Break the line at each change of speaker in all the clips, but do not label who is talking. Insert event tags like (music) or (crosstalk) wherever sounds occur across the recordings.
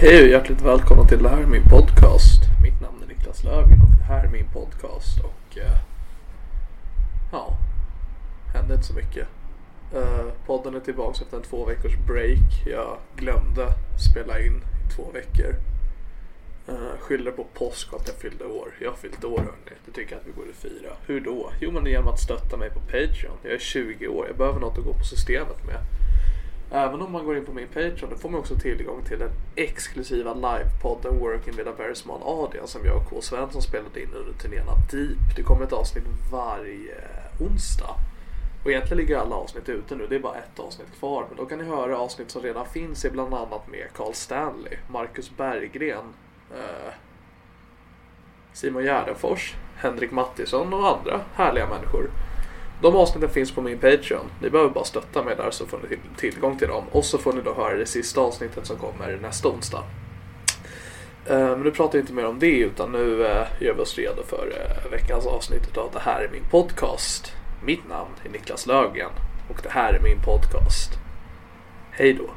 Hej och hjärtligt välkomna till det här är min podcast. Mitt namn är Niklas Löfgren och det här är min podcast och eh, ja, hände inte så mycket. Eh, podden är tillbaks efter en två veckors break. Jag glömde spela in i två veckor. Eh, skyller på påsk och att jag fyllde år. Jag har fyllt år hörni. Det tycker jag att vi borde fira. Hur då? Jo men genom att stötta mig på Patreon. Jag är 20 år. Jag behöver något att gå på systemet med. Även om man går in på min Patreon då får man också tillgång till den exklusiva livepodden Working with a very small audience som jag och K. Svensson spelade in under turnén av Deep. Det kommer ett avsnitt varje onsdag. Och egentligen ligger alla avsnitt ute nu, det är bara ett avsnitt kvar. Men då kan ni höra avsnitt som redan finns i bland annat med Carl Stanley, Marcus Berggren, eh, Simon Gärdenfors, Henrik Mattisson och andra härliga människor. De avsnitten finns på min Patreon. Ni behöver bara stötta mig där så får ni till- tillgång till dem. Och så får ni då höra det sista avsnittet som kommer nästa onsdag. Eh, Men nu pratar vi inte mer om det utan nu eh, gör vi oss redo för eh, veckans avsnitt utav Det här är min podcast. Mitt namn är Niklas Lögen och det här är min podcast. Hej då!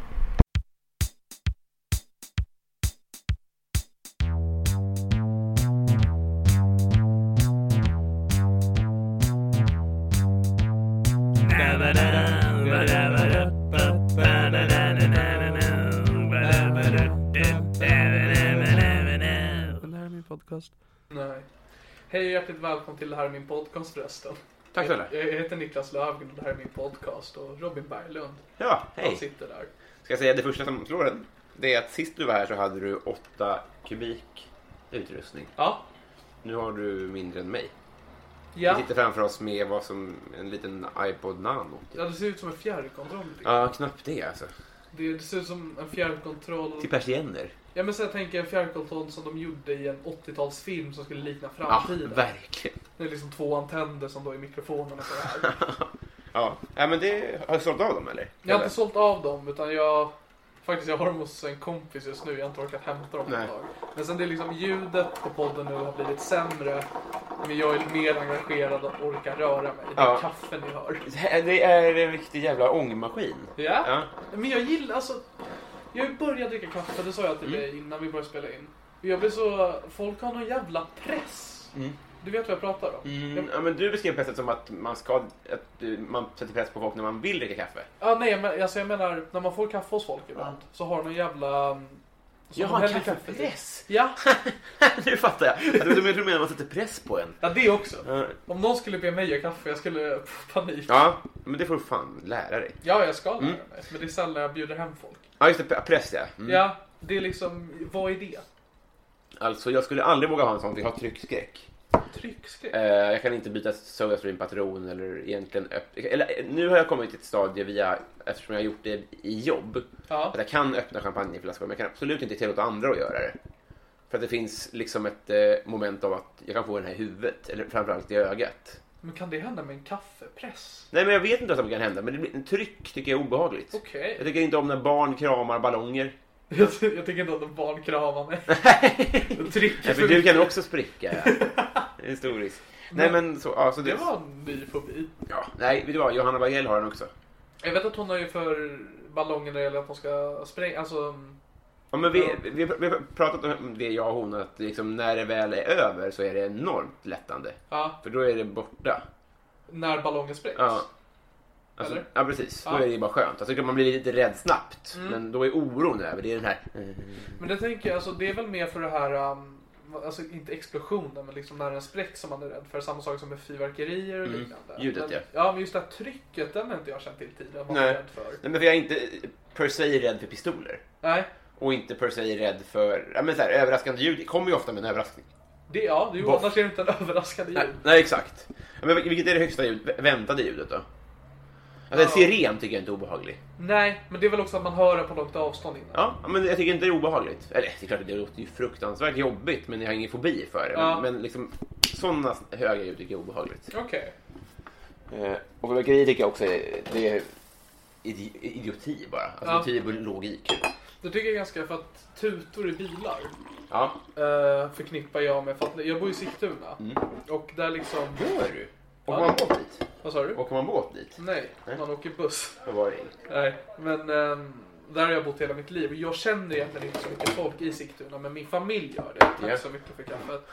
Det här är min podcast. Nej. Hej och hjärtligt välkommen till Det här är min podcast förresten.
Tack snälla.
Jag jag heter Niklas Löfgren och det här är min podcast och Robin Berglund,
Ja,
han
hej.
sitter där.
Ska jag säga det första som slår en? Det är att sist du var här så hade du 8 kubik utrustning.
Ja,
Nu har du mindre än mig. Vi
ja.
sitter framför oss med vad som en liten iPod Nano. typ.
ja det ser ut som en fjärrkontroll.
Ja, knappt det alltså.
Det, det ser ut som en fjärrkontroll.
Till persienner.
Ja men så jag tänker en fjärrkontroll som de gjorde i en 80-talsfilm som skulle likna
Ja,
framtiden.
verkligen.
det är liksom två antänder som då är mikrofonerna så
(laughs)
här.
Ja, ja men det har du sålt av dem eller?
Jag har
Eller?
inte sålt av dem utan jag Faktiskt jag har dem hos en kompis just nu, jag har inte orkat hämta dem på ett
Nej.
tag. Men sen det är liksom ljudet på podden nu har blivit sämre. Men jag är mer engagerad och orkar röra mig. Det är
Ja.
kaffe ni hör.
Det är en riktig jävla ångmaskin.
Ja.
Ja.
Men jag gillar alltså. Jag har ju börjat dricka kaffe, det sa jag
Mm.
till dig innan vi började spela in. Och Jag blir så, folk har någon jävla press. Du vet vad jag pratar om?
Mm,
Jag,
ja, men du beskrev pressen som att man ska, att du, man sätter press på folk när man vill dricka kaffe.
ja, nej, men, alltså, jag menar när man får kaffe hos folk ibland så har någon jävla... mm, så
Jag
de
har en
häller kaffe till.
kaffepress!
Ja,
(laughs) nu fattar jag. Jag trodde du menade att man sätter press på en.
ja, det också.
Ja.
Om någon skulle be mig göra kaffe, jag skulle (laughs) få panik. Ja,
Ja, Mm. men det får du fan lära dig.
jag ska lära mig. Men det är sällan jag bjuder hem folk.
Ja, just det. Press, ja. Mm.
Ja, det är liksom, vad är det?
Alltså, jag skulle aldrig våga ha en sån, för jag har tryckskräck.
Tryckskräck?
Eh, jag kan inte byta Sodastream-patron eller egentligen öpp- eller, eh, Nu har jag kommit till ett stadie via, eftersom jag har gjort det i jobb,
Ja.
att jag kan öppna champagneflaskor, men jag kan absolut inte tillåta andra att göra det. För att det finns liksom ett eh, moment av att jag kan få den här i huvudet, eller framförallt i ögat.
Men kan det hända med en kaffepress?
Nej men jag vet inte vad som kan hända men det blir, tryck tycker jag är obehagligt.
Okej.
Jag tycker inte om när barn kramar ballonger.
Jag, jag tänker inte att en barn kramar mig. Jag trycker
Nej, för
för
du kan
mycket.
också (laughs) spricka. Ja. Det är stor risk. Nej men så, ja, så
Det var en ny fobi.
ja, nej, vet du vad? Johanna Bagell har den också.
Jag vet att hon har ju för ballonger när det gäller att de ska spränga. Alltså, mm,
Ja, men vi, vi, vi har pratat om det jag och hon att liksom, när det väl är över så är det enormt lättande.
ja,
För då är det borta.
när ballongen sprängs.
Ja. Alltså,
Eller?
ja Mm. precis, då
Ja.
är det bara skönt. Alltså, man blir lite rädd snabbt. Men då är oron över. Det är den här...
Men det tänker jag, alltså, det är väl mer för det här, um, alltså inte explosionen, men liksom när den spräcks som man är rädd för. Samma sak som med fyrverkerier och liknande.
Mm. Ljudet,
men,
ja.
Ja, men just det här trycket, den har inte jag känt till tidigare. Vad man är
Nej.
rädd för.
Nej, men för jag är inte per se rädd för pistoler.
Nej,
Och inte per se rädd för... Ja, men så här, överraskande ljud Det kommer ju ofta med en överraskning.
det, ja, det är ju
Boff.
annars är det inte en (laughs) överraskande
Nej,
ljud.
nej exakt. Ja, Men vil- vilket är det högsta ljud, vä- väntade ljudet då? Alltså, en siren tycker jag inte är obehaglig.
Nej, men det är väl också att man hör den på långt avstånd innan.
Ja, men jag tycker inte det är obehagligt. Eller det är klart, det låter ju fruktansvärt jobbigt men jag har ingen fobi för det.
Ja.
Men, men liksom sådana höga ljud tycker jag är obehagligt.
Okej.
Eh, och fyrverkeri tycker jag också är, det är idi- idioti bara. Alltså
Ja.
det tyder på logik.
Det tycker jag är ganska, för att tutor i bilar
Ja.
eh, förknippar jag med, för att jag bor i Sigtuna. Och där liksom...
Gör Mm. du? Åker
Ja.
man båt dit?
Vad sa du?
Åker man båt dit?
Nej,
Nej.
man åker buss.
För varje-
Nej, men ehm, där har jag bott hela mitt liv. Och Jag känner egentligen inte så mycket folk i Sigtuna, men min familj gör det. Tack
Ja.
så mycket för kaffet.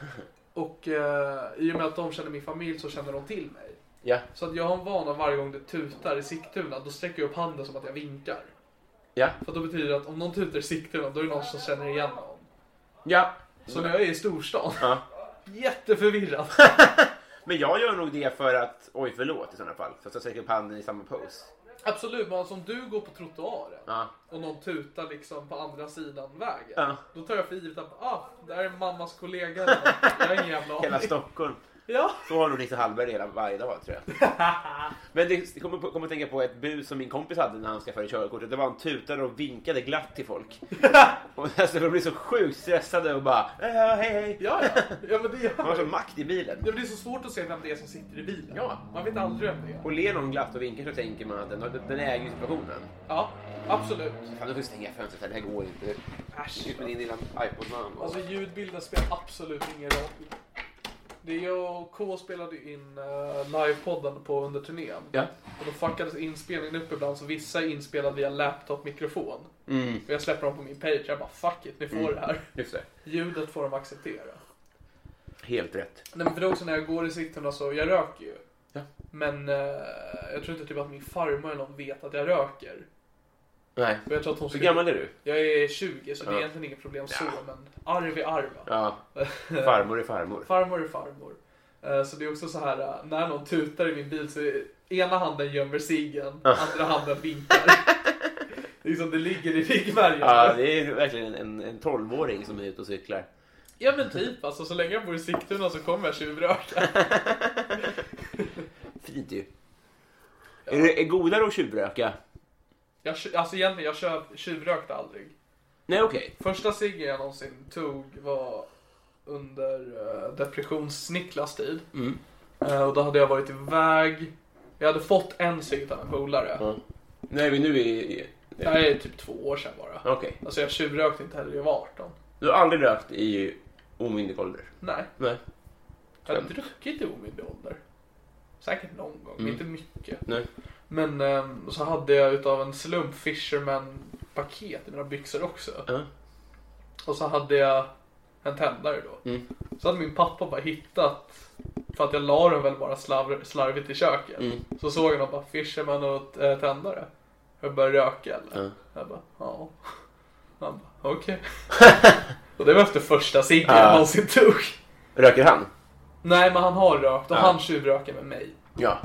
Och eh, i och med att de känner min familj så känner de till mig.
Ja.
Så att jag har en vana varje gång det tutar i Sigtuna, då sträcker jag upp handen som att jag vinkar.
Ja.
För att då betyder det att om någon tutar i Sigtuna, då är det någon som känner igen någon.
Ja.
Så när jag är i storstan,
Ja.
(laughs) jätteförvirrad. (laughs)
Men jag gör nog det för att, oj förlåt i sådana fall. Så att jag sträcker upp handen i samma pose.
Absolut, men alltså om du går på trottoaren
Ja.
och någon tutar liksom på andra sidan vägen.
Ja.
Då tar jag för givet att ah, där är mammas kollega. eller något. Jag har ingen jävla
Hela
aning.
Stockholm.
Ja.
Så har nog Nisse Hallberg hela varje dag tror jag.
(laughs)
Men det det kommer på- kommer att tänka på ett bus som min kompis hade när han skaffade körkortet. Det var han tutade och vinkade glatt till folk.
(laughs)
Och alltså, de blev så sjukt stressade och bara "Eh, ja, hej hej.
Ja, ja. ja, men det gör
Man har
jag.
sån makt i bilen.
Ja, men det är så svårt att se vem det är som sitter i bilen.
Ja.
Man vet aldrig vem det är.
Och ler någon glatt och vinkar så tänker man att den, har- den äger ju situationen.
Ja, absolut.
Fan, nu får jag stänga fönstret här. Det här går inte.
Äsch.
Ut med din lilla ipod man.
Alltså ljudbilden spelar absolut ingen roll. Det jag och K spelade in eh, livepodden på under turnén.
Ja.
Och då fuckades inspelningen upp ibland så vissa är inspelade via laptop-mikrofon.
Mm.
Och jag släpper dem på min page. Jag bara fuck it, ni får det här.
Just det.
Ljudet får de acceptera.
Helt rätt.
Nej men för det är också när jag går i Sigtuna så, jag röker ju.
Ja.
Men eh, jag tror inte typ att min farmor eller någon vet att jag röker.
Nej.
Och jag tror att hon
Hur
skulle...
gammal är du?
Jag är 20 så det är
Ja.
egentligen inget problem så men arv är arv. va?
Ja. Farmor är farmor.
Eh. Farmor är farmor. Eh, Så det är också så här eh, när någon tutar i min bil så är ena handen gömmer ciggen, andra handen vinkar. Det är som det ligger i ryggmärgen.
Ja, det är verkligen en, en 12-åring som är ute och cyklar.
Ja men typ alltså, så länge jag bor i Sigtuna så kommer jag tjuvröka.
Fint ju. Är det är godare att tjuvröka?
Jag, tju- alltså egentligen, jag tjuv- tjuvrökte aldrig.
Nej, okej.
Första ciggen jag någonsin tog var under eh, depressions-Niklas tid. Eh, och då hade jag varit iväg. Jag hade fått en cigg av en polare.
Ah. Nej, men nu är...
Det här är typ två år sedan bara.
Okej.
Alltså jag tjuvrökte inte heller, jag var 18.
Du har aldrig rökt i omyndig ålder?
Nej,
Nej.
jag hade druckit i omyndig ålder. Säkert någon gång, men inte mycket.
Nej.
Men ehm, så hade jag utav en slump Fisherman-paket i mina byxor också.
Ja.
Och så hade jag en tändare då. Så hade min pappa bara hittat, för att jag la den väl bara slarv, slarvigt i köket. Så såg han och bara Fisherman och eh, tändare. Jag började röka eller? Jag bara, ja. Han bara, okej. (laughs) och det var efter första ciggen jag någonsin tog.
Röker han?
Nej men han har rökt och han tjuvröker med mig.
Ja.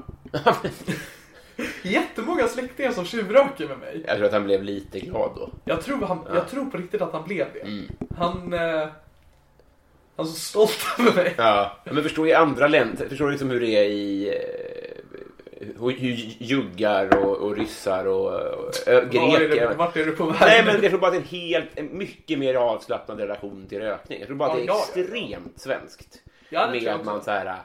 Jättemånga släktingar som tjuvröker med mig.
jag tror att han blev lite glad då.
Jag tror, han, jag tror på riktigt att han blev det.
Mm.
Han... Eh, han är så stolt över mig.
Ja. Men förstår i andra länder, förstår du liksom hur det är i... eh, Hur, hur juggar och, och ryssar och, och ö,
Var är det,
greker...
vart är du på väg?
Nej, men jag tror bara att det är en helt, en mycket mer avslappnad relation till rökning. Jag tror bara att
Ja,
det är
ja, ja, ja.
extremt svenskt.
Ja, det tror
med
jag
att man
också.
så här...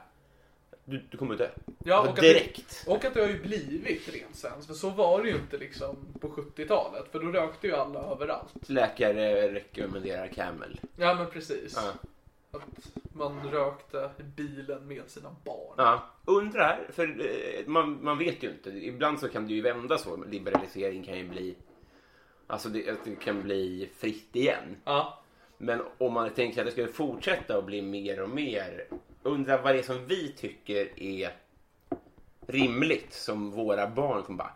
du, du kommer dö.
Ja,
Alltså,
och att
direkt.
Det, och att det har ju blivit rent sens. För så var det ju inte liksom på 70-talet. För då rökte ju alla överallt.
Läkare rekommenderar Camel.
Ja men precis.
Ja.
Att man rökte i bilen med sina barn.
Ja. Undrar, för eh, man, man vet ju inte. Ibland så kan det ju vända så. Liberalisering kan ju bli... Alltså det, att det kan bli fritt igen.
Ja.
Men om man tänker sig att det skulle fortsätta att bli mer och mer. Undrar vad det är som vi tycker är rimligt som våra barn kommer bara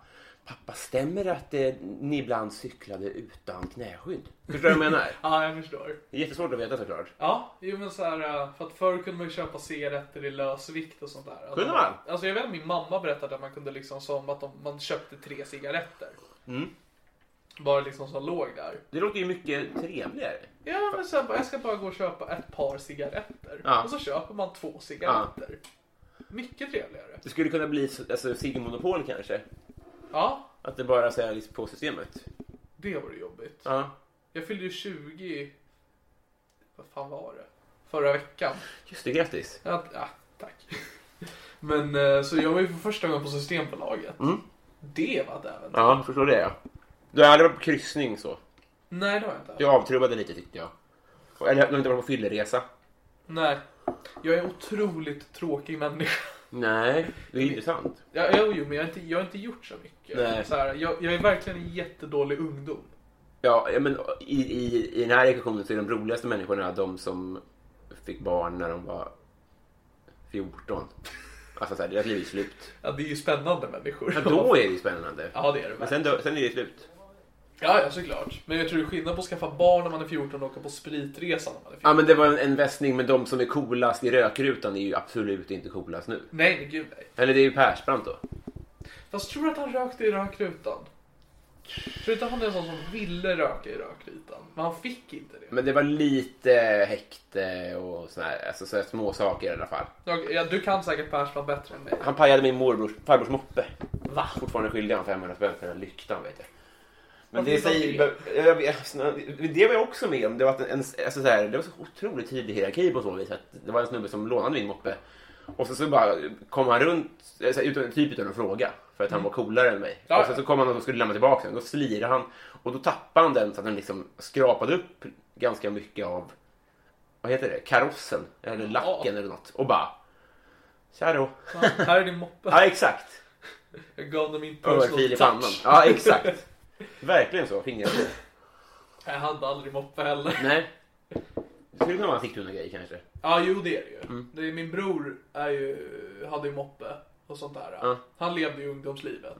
Pappa, stämmer det att eh, ni ibland cyklade utan knäskydd? Förstår du vad jag menar?
Ja, jag förstår.
Det är jättesvårt att veta såklart.
Ja, jo men så här, eh, för att förr kunde man ju köpa cigaretter i lösvikt och sånt där. Alltså,
Kunde man?
Alltså jag vet att min mamma berättade att man kunde liksom som att de, man köpte tre cigaretter.
Mm.
Bara liksom som låg där.
Det låter ju mycket trevligare.
Ja men sen bara, jag ska bara gå och köpa ett par cigaretter.
Ja.
Och så köper man två cigaretter. Mycket trevligare.
Det skulle kunna bli så- alltså, Sigmonopol kanske.
Ja,
Att det bara säljs på systemet.
det var det jobbigt.
Ja.
Jag fyllde ju 20... Vad fan var det? Förra veckan.
Just det, grattis.
Ja, ja tack. (laughs) Men eh, så jag var ju för första gången på Systembolaget. Det var ett äventyr.
Mm. Ja, förstår det ja. Du har aldrig varit på kryssning så?
Nej, det har jag inte.
Jag avtrubbade lite tyckte jag. Eller jag har inte varit på fylleresa.
Nej. Jag är en otroligt tråkig människa.
Nej, det är intressant.
Ja, jo, jo, men jag har, inte, jag har inte gjort så mycket.
Nej.
Så här, jag, jag är verkligen en jättedålig ungdom.
Ja, ja, men i, i, i den här ekvationen så är de roligaste människorna de som fick barn när de var 14. Alltså så här, deras liv är slut.
Ja, det är ju spännande människor.
Men då är det ju spännande.
(laughs) Ja, det är det
Men
verkligen.
sen, dö- sen är det slut.
Ja, ja, såklart. Men jag tror det är skillnad på att skaffa barn när man är 14 och åka på spritresa när man är 14.
Ja, men det var en, en västning, men de som är coolast i rökrutan är ju absolut inte coolast nu.
Nej, men gud nej.
Eller det är ju Persbrandt då.
Fast tror du att han rökte i rökrutan? Tror du inte han är en sån som ville röka i rökrutan? Men han fick inte det.
Men det var lite häkte och såna här, alltså, så här små saker i alla fall.
Jag, ja, du kan säkert Persbrandt bättre än mig.
Han pajade min morbrors, farbrors moppe.
Va?
Fortfarande skyldig han 500 spänn för den lyktan vet jag. Men
Varför
det,
gjorde
säger,
han
jag- jag vet- alltså, det var jag också med om. Det var, att en, alltså så här, det var så otroligt tydlig hierarki på så vis. Att det var en snubbe som lånade min moppe. Och så, så bara kom han runt, eh, så här, utan, typ utan att fråga. För att han var coolare än mig.
Ja,
och sen
ja.
så kom han och skulle lämna tillbaka den. Då slirade han. Och då tappade han den så att den liksom skrapade upp ganska mycket av, vad heter det, karossen. Eller lacken eller något. Och bara, tja då.
Fan, här är din moppe.
Ja exakt.
Jag gav honom min
Örfil
personal
i pannan.
touch.
Ja, exakt. (laughs) Verkligen så. Fingerfil.
Jag hade aldrig moppe heller.
Nej. Det skulle kunna vara en Sigtuna-grej kanske.
Ja, jo det är det ju.
Mm.
Det är, min bror är ju, hade ju moppe och sånt där.
Ja. Mm.
Han levde ju ungdomslivet.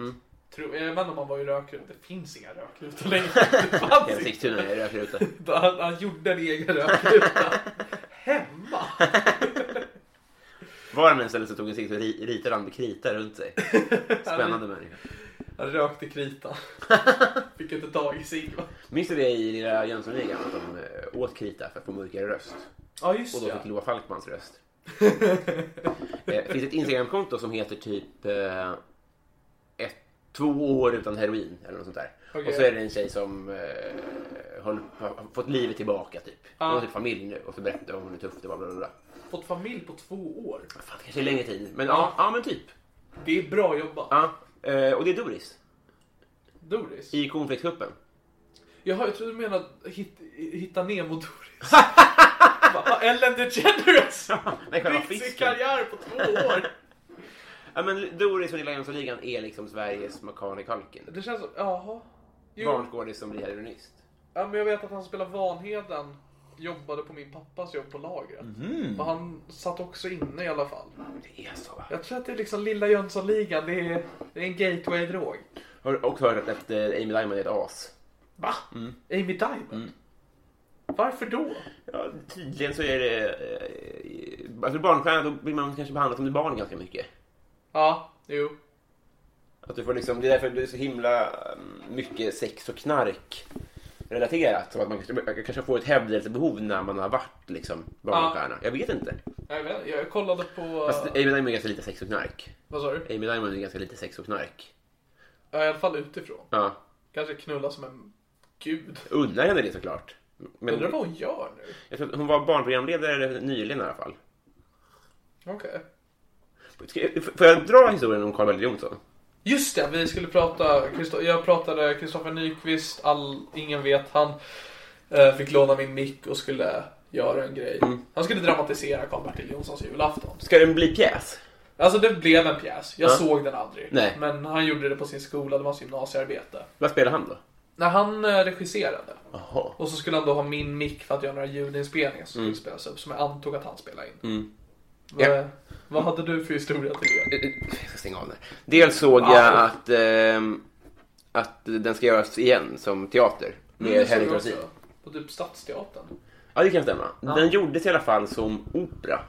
Tror, jag vet inte om han var i rökrutan. Det finns inga
(laughs)
rökrutor längre. Det fanns
Hela
inte.
Sigtuna är röker ute.
Han, han gjorde en egen rökruta. Hemma?
Var han än ställde sig tog en cigg så ri- ritade han med krita runt (laughs) sig. Spännande människa.
Han rökte krita. (laughs) Fick inte tag i cigg va?
Minns du det i Lilla Jönssonligan? Att de eh, åt krita för att få mörkare röst.
Ja
Och
just
då
det.
fick Loa Falkmans röst. Eh, finns ett Instagramkonto som heter typ eh, ett, två år utan heroin eller något sånt där.
Okej.
Och så är det en tjej som eh, har, har fått livet tillbaka typ. Hon har typ familj nu och så berättar hon hur tufft det var. Bla, bla, bla.
(laughs) Fått familj på två år.
Fan, det kanske är längre tid. Men ja, ja men typ.
Det är bra jobbat.
Ja. Eh, och det är Doris
Doris. (laughs)
i cornflakescupen.
Jaha, jag trodde du menade hit, hitta (laughs) Nemo-Doris. Bara, Ellen DeGeneres!
Nej, själva
Fick sin
fisken.
karriär på två (laughs) år.
Ja, men Doris och Lilla Jönssonligan är liksom Sveriges Makane Kalken.
Det känns som, jaha. Jo,
Barnskådis som blir heroinist.
ja, men jag vet att han som spelar Vanheden jobbade på min pappas jobb på lagret. Men han satt också inne i alla fall.
Det är så.
Jag tror att det är liksom Lilla Jönssonligan, det är, det är en gateway-drog.
Har också hört att eh, Amy Diamond är ett as.
Va? Amy Diamond? Varför då?
Ja, tydligen så är det... Eh, alltså barnstjärna, då blir man kanske behandlad som ett barn ganska mycket.
Ja, jo.
Att du får liksom, det är därför det är så himla mm, mycket sex och knark relaterat. Så att man kanske, kanske får ett hävdelsebehov när man har varit liksom, barnstjärna. Jag vet inte.
Jag, vet, jag kollade på... eh,
Fast Amy Diamond är ganska lite sex och knark.
Vad sa du?
Amy Diamond är ganska lite sex och knark.
Ja, i alla fall utifrån.
Ja.
Kanske knulla som en gud.
Undrar henne det såklart. Men
Undrar vad hon gör nu?
jag tror att hon var barnprogramledare nyligen i alla fall.
Okej.
Ska- f- Får jag dra historien om Carl Bertil Jonsson?
Just det, vi skulle prata, Christo- jag pratade Kristoffer Nyqvist, all, ingen vet, han eh, fick låna min mick och skulle göra en grej.
Mm.
Han skulle dramatisera Karl-Bertil Jonssons julafton.
Ska den bli pjäs?
Alltså det blev en pjäs, jag
Ja.
såg den aldrig.
Nej.
Men han gjorde det på sin skola, det var hans gymnasiearbete.
Vad spelar han då?
När han eh, regisserade,
Jaha.
och så skulle han då ha min mick för att göra några ljudinspelningar som skulle spelas upp, som jag antog att han spelade in. Vad,
Mm. Ja.
vad hade du för historia till det?
Eh, eh, Jag ska stänga av den här. Dels såg jag att, ehm, att den ska göras igen som teater med
Mm, det såg
Henrik
jag
Rosin.
också. På typ Stadsteatern.
Ja, det kan stämma. Den gjordes i alla fall som opera.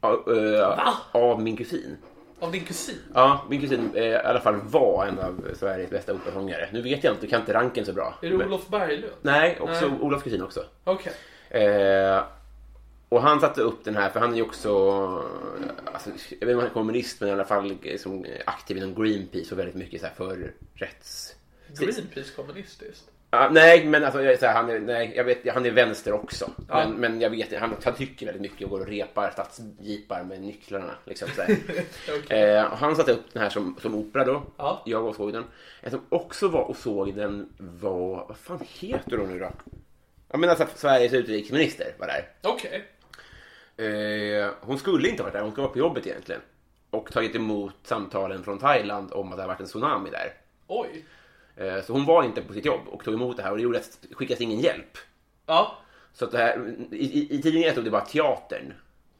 Av, eh, av min kusin.
Av din kusin?
Ja, min kusin eh, i alla fall var en av Sveriges bästa operasångare. Nu vet jag inte, kan inte ranken så bra.
Är det
Men-
Olof Berglund?
Nej, också
Nej.
Olofs kusin också.
Okej.
Eh, och han satte upp den här, för han är ju också, eh, alltså, jag vet inte om han är kommunist, men i alla fall eh, som aktiv inom Greenpeace och väldigt mycket så här för rätts...
Greenpeace kommunistiskt.
Ja, nej, men alltså, jag, är så här, han, är, nej, jag vet, han är vänster också. Men, men jag vet han, han tycker väldigt mycket och går och repar stadsjeepar med nycklarna. Liksom, så här. eh, och han satte upp den här som, som opera då.
Ja.
Jag var och såg den. En som också var och såg den var, vad fan heter hon nu då? Jag menar så här, Sveriges utrikesminister var där.
Okej.
Eh, hon skulle inte ha varit där, hon skulle vara på jobbet egentligen. Och tagit emot samtalen från Thailand om att det har varit en tsunami där.
Oj.
Eh, så hon var inte på sitt jobb och tog emot det här och det gjorde att det skickades ingen hjälp.
Ja.
Så att det här, i, i, i tidningen stod det bara teatern.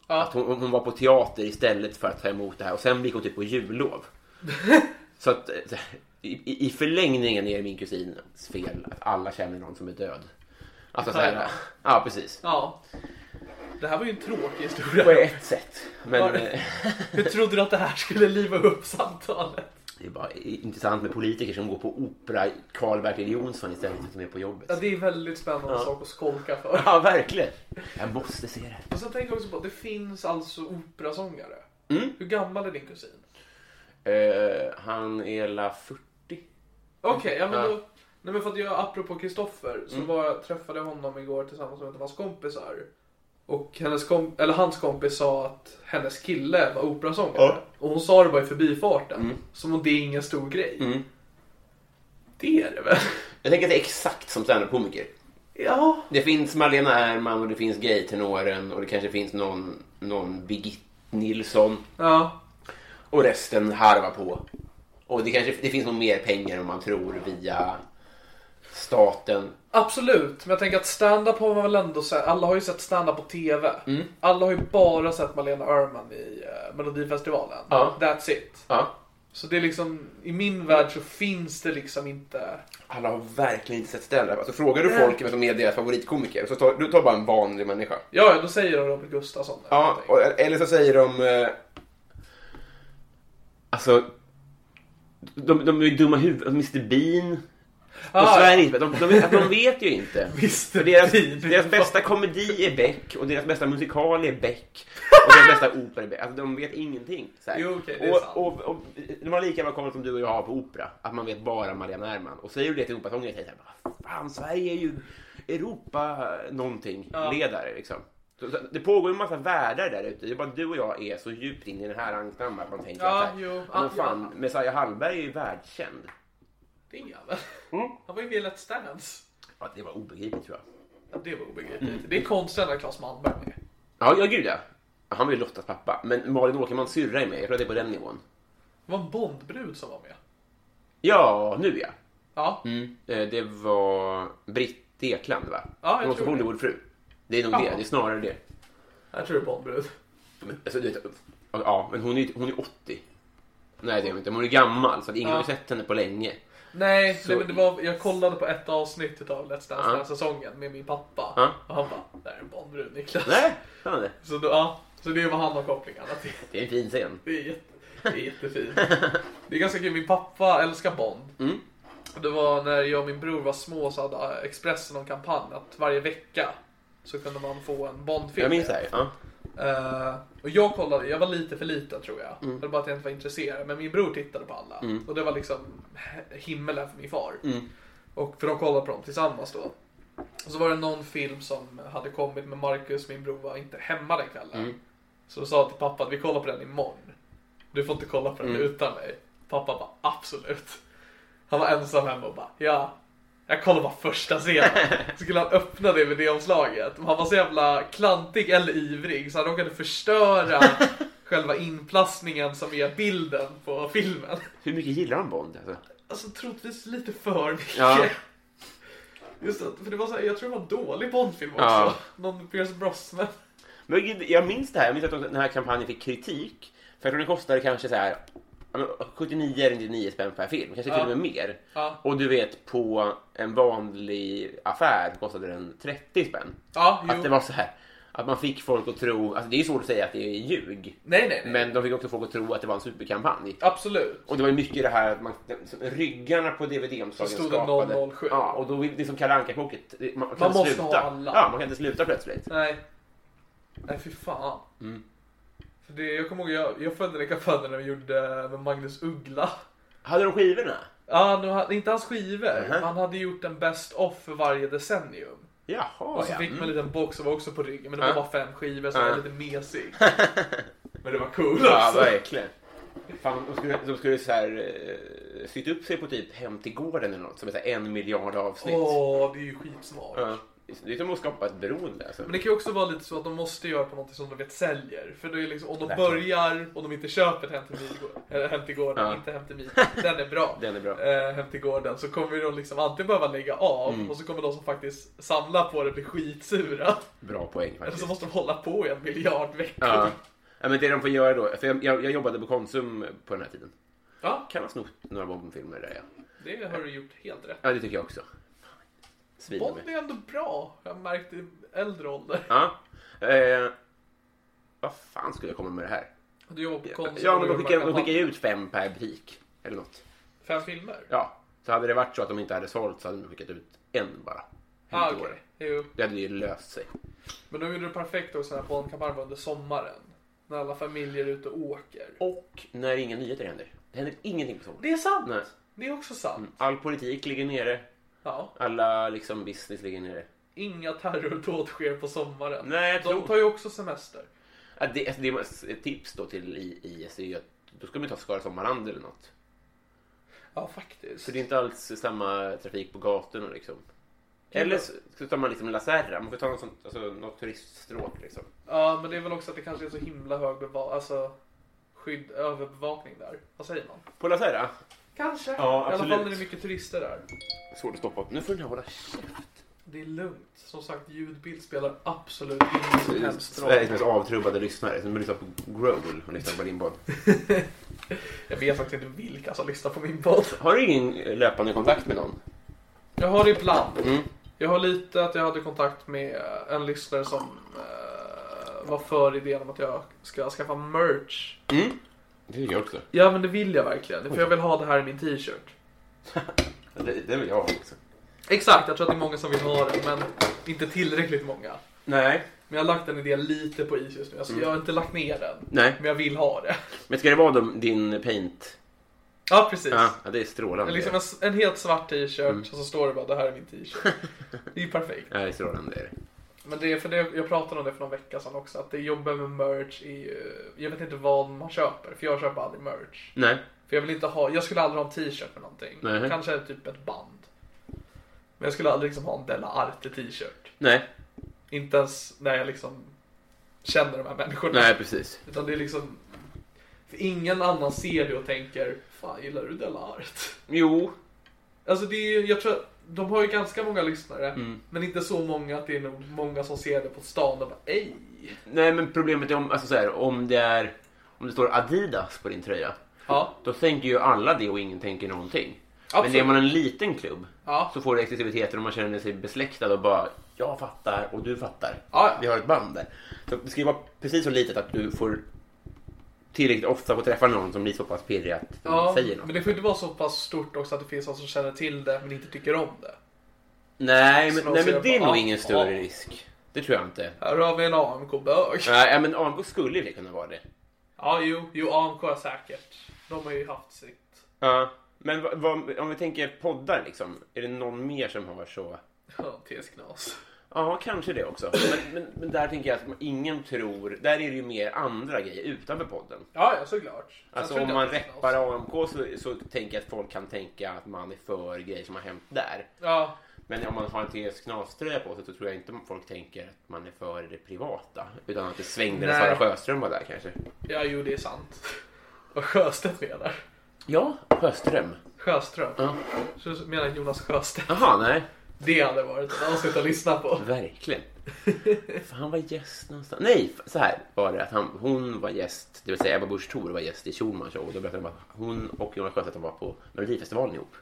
Ja.
Att hon, hon var på teater istället för att ta emot det här och sen gick hon typ
(laughs)
på jullov. så att eh, i, i förlängningen är det min kusins fel att alla känner någon som är död. Alltså så här, ja precis.
Ja. Det här var ju en tråkig
På
historia.
ett sätt. Men,
Var
eh,
det? Hur trodde du att det här skulle liva upp samtalet?
Det är bara intressant med politiker som går på opera, Carl Bertil Jonsson istället för att de är på
Ja,
jobbet.
det är en väldigt spännande sak att skolka för.
Ja, verkligen. Jag måste se det.
Och sen tänker jag också på, det finns alltså operasångare.
Mm.
Hur gammal är din kusin?
Eh, han är la 40.
Okej, ja men
Ja. Mm.
då. Nej men för att jag, apropå Kristoffer, så var jag, träffade jag honom igår tillsammans med en av hans kompisar. Och hennes kom, eller hans kompis sa att hennes kille var operasångare.
Ja. Mm.
Och hon sa det bara i förbifarten. Som om det är ingen stor grej. Det är det väl? (laughs)
Jag tänker att det är exakt som standup-komiker.
Ja.
Det finns Malena Ernman och det finns gaytenoren och det kanske finns någon, någon Birgit Nilsson.
Ja.
Och resten harvar på. Och det kanske det finns nog mer pengar om man tror via staten.
Absolut, men jag tänker att stand-up har man väl ändå sett. Alla har ju sett stand-up på TV.
Mm.
Alla har ju bara sett Malena Öhrman i eh, Melodifestivalen.
Ja.
That's it.
Ja.
Så det är liksom, i min värld så finns det liksom inte...
Alla har verkligen inte sett stand-up. Alltså, frågar du folk vem som är deras favoritkomiker, så tar, du tar bara en vanlig människa.
Ja, ja, då säger de Robert Gustafsson. eller
Ja,
någonting.
och, eller så säger de... Eh, alltså... De, de är ju dumma huvud. Mr Bean. Och
Ah,
Sverige, de, de, de, de vet ju inte.
(laughs)
För
Mr.
deras,
Bean.
deras bästa komedi är Beck och deras bästa musikal är Beck och deras bästa opera är Beck. Alltså, de vet ingenting. Så här.
Jo, okej, det är sant.
och, och, och, de har lika bra koll som du och jag har på opera, att man vet bara Marianne Ernman. Och säger du det till operasångare säger de "Vad fan, Sverige är ju Europa någonting ledare liksom. Så, så, det pågår ju en massa världar där ute. Det är bara att du och jag är så djupt inne i den här ankdammen att man tänker
Ja,
att så här,
jo.
men
Ja,
fan, Messiah Hallberg är ju världskänd.
Det är ingen jävel.
Mm.
(laughs) Han var ju med i Let's Dance.
Ja, det var obegripligt tror jag.
Ja, det var obegripligt.
Mm.
Det är konstigt när Claes Malmberg är med.
Ja, ja gud ja. Han var ju Lottas pappa. Men Malin Åkermans syrra är med. Jag tror att det är på den nivån.
Det var en Bondbrud som var med.
Ja, nu ja.
Ja,
Eh, Det var Britt Ekland va?
jag
Hon var
tror det.
Hollywoodfru. Det är nog det.
Ja.
Det är snarare det.
jag tror det är Bondbrud.
Men, alltså, du vet, ja, men hon är, hon är 80. Nej, det är hon inte. Men Hon är gammal så att ingen
Ja.
har sett henne på länge.
Nej,
Så-
nej men det var, jag kollade på ett avsnitt utav Let's Dance den här säsongen med min pappa.
Ja.
Och han bara, där är en Bondbrud Niklas.
Nej, fan det.
Så, då, ja, så det var han och kopplingarna till.
Det är en fin scen.
Det är, jätte, det är jättefint. Det är ganska kul, min pappa älskar Bond.
Mm.
Det var när jag och min bror var små så hade Expressen en kampanj att varje vecka så kunde man få en Bondfilm.
Jag minns det här. Ja.
Eh, och jag kollade, jag var lite för liten tror jag. Det var bara att jag inte var intresserad. Men min bror tittade på alla. Och det var liksom he- himmelen för min far. Och för de kollade på dem tillsammans då. Och så var det någon film som hade kommit med Marcus, min bror var inte hemma den kvällen. Så jag sa till pappa att vi kollar på den imorgon. Du får inte kolla på den utan mig. Pappa bara absolut. Han var ensam hemma och bara ja. Jag kollar bara första scenen. Så skulle han öppna DVD-omslaget. Men Han var så jävla klantig eller ivrig så han råkade
(laughs)
förstöra själva inplastningen som är bilden på filmen.
Hur mycket gillar han Bond? Alltså?
Alltså troligtvis lite för mycket.
Ja.
Just att, för det var så här, jag tror det var en dålig Bondfilm också.
Ja.
Någon Pierce Brosnan.
Men gud, jag minns det här. Jag minns att den här kampanjen fick kritik. För jag tror den kostade kanske så här ja, men 79 eller 99 spänn per film. Kanske till och med mer.
Ja.
Och du vet, på en vanlig affär kostade den 30 spänn.
Ja, jo.
Att det var så här. Att man fick folk att tro, alltså det är svårt att säga att det är ljug.
Nej, nej, nej.
Men de fick också folk att tro att det var en superkampanj.
Absolut.
Och det var ju mycket det här att man, som ryggarna på DVD-omslagen
Så stod det
skapade.
007.
Ja, och då vill- det är som Kalle Anka-pocket. det- Man, kan inte
måste
sluta.
ha alla.
Ja, man kan inte sluta plötsligt.
Nej. Nej, fy fan.
Mm.
För det, jag kommer ihåg, jag, jag följde den kampanjen när vi gjorde eh, med Magnus Uggla.
Hade de skivorna?
Ja, nu, ha- inte hans skivor.
Mhm.
Han hade gjort en best off för varje decennium.
Jaha,
Och så
ja. Mm.
fick man en liten box som var också på ryggen, men det
Ja.
var bara fem skivor som
Ja.
var lite
(laughs)
mesig. Men det var cool
Ja,
också.
verkligen. Fan, de skulle, de skulle så här, eh, sytt upp sig på typ Hem till gården eller något som är så här en miljard avsnitt.
Åh, det är ju skitsmart.
Ja. Det är som att skapa ett beroende. Alltså.
Men det kan ju också vara lite så att de måste göra på något som de vet säljer. För då är liksom, om de
Verkligen.
börjar och de inte köper Hem till, Midgård, eller hem till gården,
Ja.
inte Hem
(laughs)
till Midgård, den är bra.
Den är bra.
Eh, hem till gården så kommer de liksom antingen behöva lägga av
Mm.
och så kommer de som faktiskt samlar på det bli skitsura.
Bra poäng
Eller så
faktiskt.
måste de hålla på i en miljard veckor.
Ja. ja, men det de får göra då. För jag, jag, jag jobbade på Konsum på den här tiden.
Ja,
Kan ha snott några Bondfilmer där ja.
det har du gjort helt rätt.
Ja, det tycker jag också. Svin
Bond är ändå bra, jag har märkt i äldre ålder.
Ja. Eh, vad fan skulle jag komma med det här?
Du jobbar på Konsum
Ja,
och
men
gör
de skickar, de
kampanj.
skickar ju ut fem per butik. Eller något.
Fem filmer?
Ja. Så hade det varit så att de inte hade sålt så hade de skickat ut en bara.
ah,
Helt i år.
okej. Jo.
Det hade ju löst sig.
Men de gjorde det perfekt också när Bondkampanjen var under sommaren. När alla familjer är ute och åker.
Och när inga nyheter händer. Det händer ingenting på sommaren.
Det är sant!
Nej.
Det är också sant.
All politik ligger nere.
Ja.
Alla liksom business ligger nere.
Inga terrordåd sker på sommaren.
Nej, jag tror-
De tar ju också semester.
Ja, det, alltså, det är ett tips då till IS är ju E att då ska man ju ta Skara Sommarland eller något.
Ja, faktiskt.
För det är inte alls samma trafik på gatorna liksom. Eller så, så tar man liksom La Serra. Man får ta något, sånt, alltså, något turiststråk liksom.
Ja, men det är väl också att det kanske är så himla hög beva... alltså, skydd, överbevakning där. Vad säger man?
På La Serra?
Kanske.
Ja,
I alla
absolut.
fall när det är mycket turister där.
Svårt att stoppa. Nu får den här hålla käft.
Det är lugnt. Som sagt, ljudbild spelar absolut ingen som helst roll.
Sveriges mest avtrubbade lyssnare som lyssnar på Growl och lyssnar på din podd.
Jag vet faktiskt inte vilka som lyssnar på min podd.
Har du ingen löpande kontakt med någon?
Jag har ibland.
Mm.
Jag har lite att jag hade kontakt med en lyssnare som eh, var för idén om att jag ska skaffa merch.
Mm. Det tycker jag också.
Ja men det vill jag verkligen. För jag vill ha det här i min t-shirt.
Det, det vill jag ha också.
Exakt, jag tror att det är många som vill ha den men inte tillräckligt många.
Nej.
Men jag har lagt den idén lite på is just nu. Alltså, Jag har inte lagt ner den.
Nej.
Men jag vill ha det.
Men ska det vara de, din paint?
Ja precis.
Ja, ja, det Mm. är
Det
strålande.
är liksom en, en helt svart t-shirt och så står det bara det här är min t-shirt. Det är ju perfekt.
Ja, det är strålande. Är det.
Men det är för det, jag pratade om det för någon vecka sedan också, att det jobbar med merch är ju, jag vet inte vad man köper, för jag köper aldrig merch.
Nej.
För jag vill inte ha, jag skulle aldrig ha en t-shirt med någonting.
Nej.
Kanske typ ett band. Men jag skulle aldrig liksom ha en Della Arte t-shirt.
Nej.
Inte ens när jag liksom känner de här människorna.
Nej, precis.
Utan det är liksom, för ingen annan ser det och tänker, fan gillar du Della Arte?
Jo.
Alltså det är ju, jag tror att de har ju ganska många lyssnare,
Mm.
men inte så många att det är nog många som ser det på stan och bara ej.
Nej, men problemet är om, alltså, så här, om det är... Om det står Adidas på din tröja,
Ja.
då tänker ju alla det och ingen tänker någonting.
Absolut.
Men är man en liten klubb
Ja.
så får du exklusiviteten och man känner sig besläktad och bara jag fattar och du fattar.
Ja, ja.
Vi har ett band där. Så det ska ju vara precis så litet att du får tillräckligt ofta få träffa någon som blir så pass pirrig att de
Ja,
säger något.
men det får inte vara så pass stort också att det finns någon som känner till det men inte tycker om det.
Nej,
Så
men,
de
nej,
ser
men det är
bara,
nog
"Ah,
ingen större
ah."
risk. Det tror jag inte.
Här har vi en AMK-bög.
Nej, men AMK skulle ju kunna vara det.
Ja, jo, jo, AMK är säkert. De har ju haft sitt.
Ja. Men vad, vad, om vi tänker poddar liksom, är det någon mer som har så?
Ja, TS Knas.
Ja, kanske det också. Men, men, men där tänker jag att ingen tror... Där är det ju mer andra grejer utanför podden.
Ja, ja såklart. Sen tror
Alltså
jag
om man
inte att det är
reppar
något.
AMK så, så tänker jag att folk kan tänka att man är för grejer som har hänt där.
Ja,
Men om man har en TS Knaströja på sig så tror jag inte folk tänker att man är för det privata. Utan att det svängde när
Nej.
Sara Sjöström var där kanske.
ja, jo det är sant. Och Sjöstedt med där.
Ja, Sjöström.
Sjöström.
Ja.
Så menar jag Jonas Sjöstedt.
Jaha, nej.
Det hade varit ett avsnitt att lyssna på.
Verkligen. För han var gäst någonstans. Nej, f- så här var det. Att han, hon var gäst, det vill säga Ebba Busch Thor var gäst i Schulman show. Och då berättade de att hon och Jonas Sjöstedt var på Melodifestivalen ihop.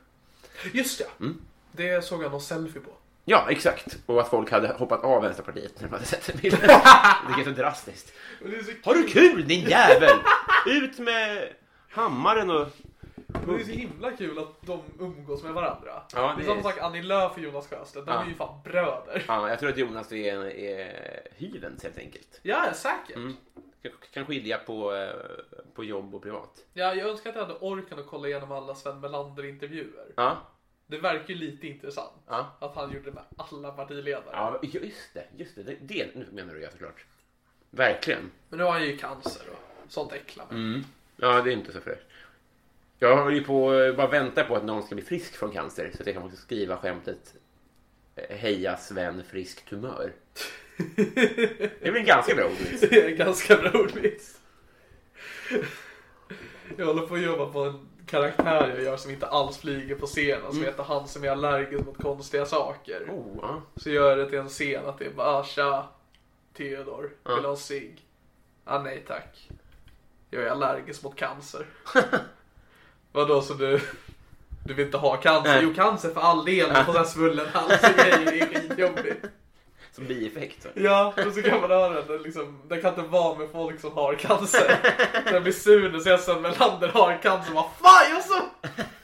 Just ja.
Mm.
Det såg jag någon selfie på.
Ja, exakt. Och att folk hade hoppat av Vänsterpartiet när de hade sett den bilden. Det är så drastiskt.
Men det är så
Har du kul din jävel? Ut med hammaren och...
Men det är så himla kul att de umgås med varandra.
Ja, det
det är
är-
samma sak Annie Lööf och Jonas Sjöstedt. De
Ja.
är ju fan bröder.
Ja, jag tror att Jonas är, är hyvens helt enkelt.
Ja, ja, säkert.
Mm. Kan- Kan skilja på, eh, på jobb och privat.
Ja, jag önskar att jag hade orken att kolla igenom alla Sven Melander-intervjuer.
Ja,
Det verkar ju lite intressant.
Ja.
Att han gjorde det med alla partiledare.
ja just det. Just det. det, det nu menar du jag såklart. Verkligen.
Men nu har han ju cancer och sånt äcklar mig.
Mm.
(laughs)
Ja, det är inte så fräscht. Jag har ju på, bara väntar på att någon ska bli frisk från cancer så att jag kan också skriva skämtet eh, Heja Sven frisk tumör. Det blir en ganska bra ordvits.
(laughs) Det är en ganska bra ordvits. Jag håller på att jobba på en karaktär jag gör som inte alls flyger på scenen. Som heter han som är allergisk mot konstiga saker.
Oh, ja.
Så gör jag det till en scen att det är bara "Ah, tja, Theodor, vill du ha en cigg? Ah, nej tack. Jag är allergisk mot cancer. Vadå så du, du vill inte ha cancer?
Nej.
Jo cancer för all del, på sån här svullen hals och grejer, det är skitjobbigt.
Som bieffekt. Så.
Ja, och så kan man höra den liksom, den kan inte vara med folk som har cancer. Så jag blir sur när jag ser Sven Melander har cancer, vad fan jag så,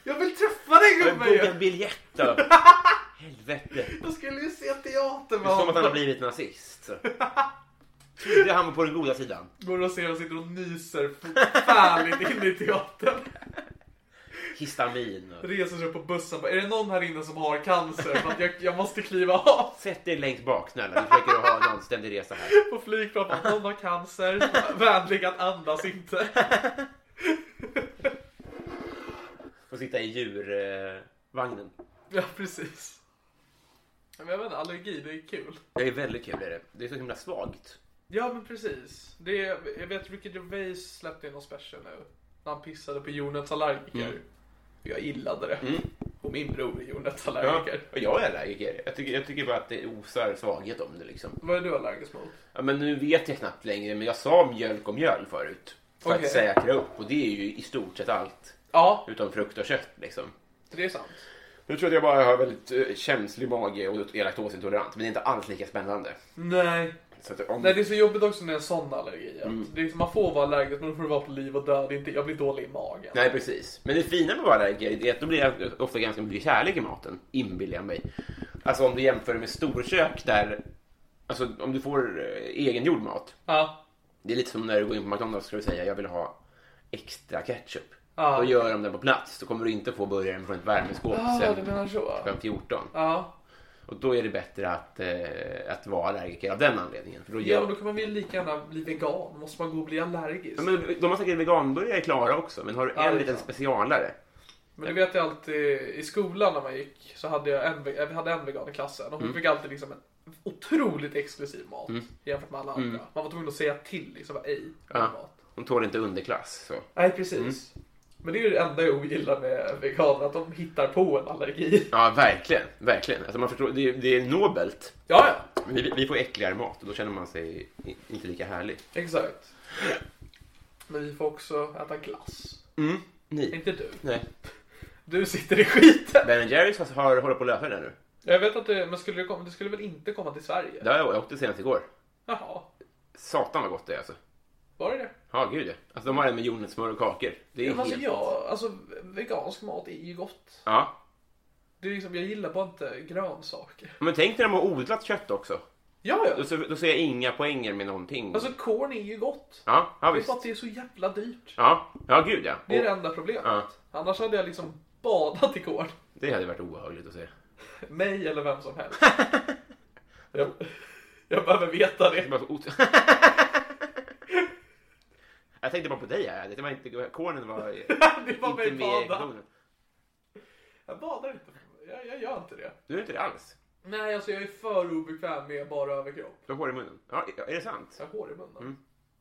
jag vill träffa den
Men
gubben
Boka
ju!
en biljett då! Helvete.
Jag skulle ju se teater
Det
med
är som att han har
honom.
blivit nazist. så. Trodde han var på den goda sidan.
Går och ser och sitter och nyser förfärligt in i teatern.
Histamin. Och...
Reser sig upp på bussen och bara, är det någon här inne som har cancer? För att jag, jag måste kliva av
Sätt dig längst bak snälla. Vi försöker ha en anständig resa här.
på flygplan. Bara, någon har cancer. Vänlig att andas inte.
Och sitta i djurvagnen.
Ja, precis. Men jag vet inte, allergi, det är kul.
Det är väldigt kul. Är det. det är så himla svagt.
Ja, men precis. Det är, jag vet Ricky Gervais släppte in någon special nu. När han pissade på jordnötsallergiker.
Mm.
Jag gillade det. Och min bror är jordnötsallergiker.
Och jag är allergiker. Jag tycker, jag tycker bara att det osar svaghet om det liksom.
Vad är du allergisk mot?
Ja, men nu vet jag knappt längre. Men jag sa mjölk och mjöl förut. För
Okej.
att säkra upp. Och det är ju i stort sett allt.
Ja,
Utom frukt och kött liksom.
det är sant.
Nu tror jag att jag bara har väldigt eh, känslig mage och är laktosintolerant. Men det är inte alls lika spännande.
Nej,
Så att om...
Nej det är så jobbigt också när det är en sån allergi. att
Mm.
Det är, liksom, man får vara allergisk men då får du vara på liv och död. Det är Inte, jag blir dålig i magen.
Nej, precis. Men det fina med att vara allergiker är att då blir jag ofta ganska mycket kärlek i maten, inbillar jag mig. Alltså om du jämför med storkök där, alltså om du får eh, egengjord mat.
Ja.
Det är lite som när du går in på McDonalds och ska du säga jag vill ha extra ketchup.
Ja.
Då gör de den på plats, då kommer du inte få burgaren från ett värmeskåp
Ah, du
sen
menar så?
klockan 14.
Ja.
Och då är det bättre att, eh, att vara allergiker av den anledningen. För då
Ja, men
gör...
då kan man väl lika gärna bli vegan. Måste man gå och bli allergisk?
ja,
men...
men de har säkert veganburgare klara också, men har du
Ja,
en
det är
liten
sant.
specialare
det vet jag alltid i skolan när man gick så hade jag en, ve- jag hade en vegan i klassen
Mm.
och hon fick alltid liksom en otroligt exklusiv mat jämfört med alla andra. Man var tvungen att säga till liksom, bara, ej,
Mm. Ja. Mm.
min mat.
De tål inte underklass. Så.
Nej, precis. Men det är ju det enda jag ogillar med veganer, att de hittar på en allergi.
Ja, verkligen. verkligen. Alltså man förstår, det, är, det är nobelt.
Ja, ja.
Vi, vi får äckligare mat och då känner man sig i- inte lika härlig.
Exakt. Men vi får också äta glass.
Mm. Ni?
Inte du.
Nej.
Du sitter i skiten.
Ben Jerrys har, har, håller på att lösa det nu.
Jag vet att det, men skulle det, komma, det skulle väl inte komma till Sverige?
Det har jag, jag åkte senast igår.
Jaha,
Satan vad gott det är alltså.
var det det?
Ja, gud ja. Alltså de har en med jordnötssmör och kakor. Det är
Men alltså,
helt...
jag, alltså, vegansk mat är ju gott.
Ja.
Det är liksom, jag gillar bara inte grönsaker.
Men tänk när de har odlat kött också.
Ja,
Då,
ja.
ser- då ser jag inga poänger med någonting.
Alltså korn är ju gott.
Ja, ja
Det är
visst.
bara att det är så jävla dyrt.
Ja, ja gud ja.
Det är det
Och,
enda problemet.
Ja.
Annars hade jag liksom badat i korn. (laughs)
det hade varit obehagligt att se. (laughs)
Mig eller vem som helst. Jag, jag behöver veta det.
Bara för ot- (laughs) Jag tänkte bara på dig här. Det var inte... Kornen
(laughs)
var
Det var mig
inte med i
bada.
ekvationen.
Jag badar inte. Jag, jag gör inte det.
Du är inte det alls.
Nej, alltså jag är för obekväm med bara överkropp.
Du har hår i munnen. Ja, är det sant?
Jag har hår i munnen.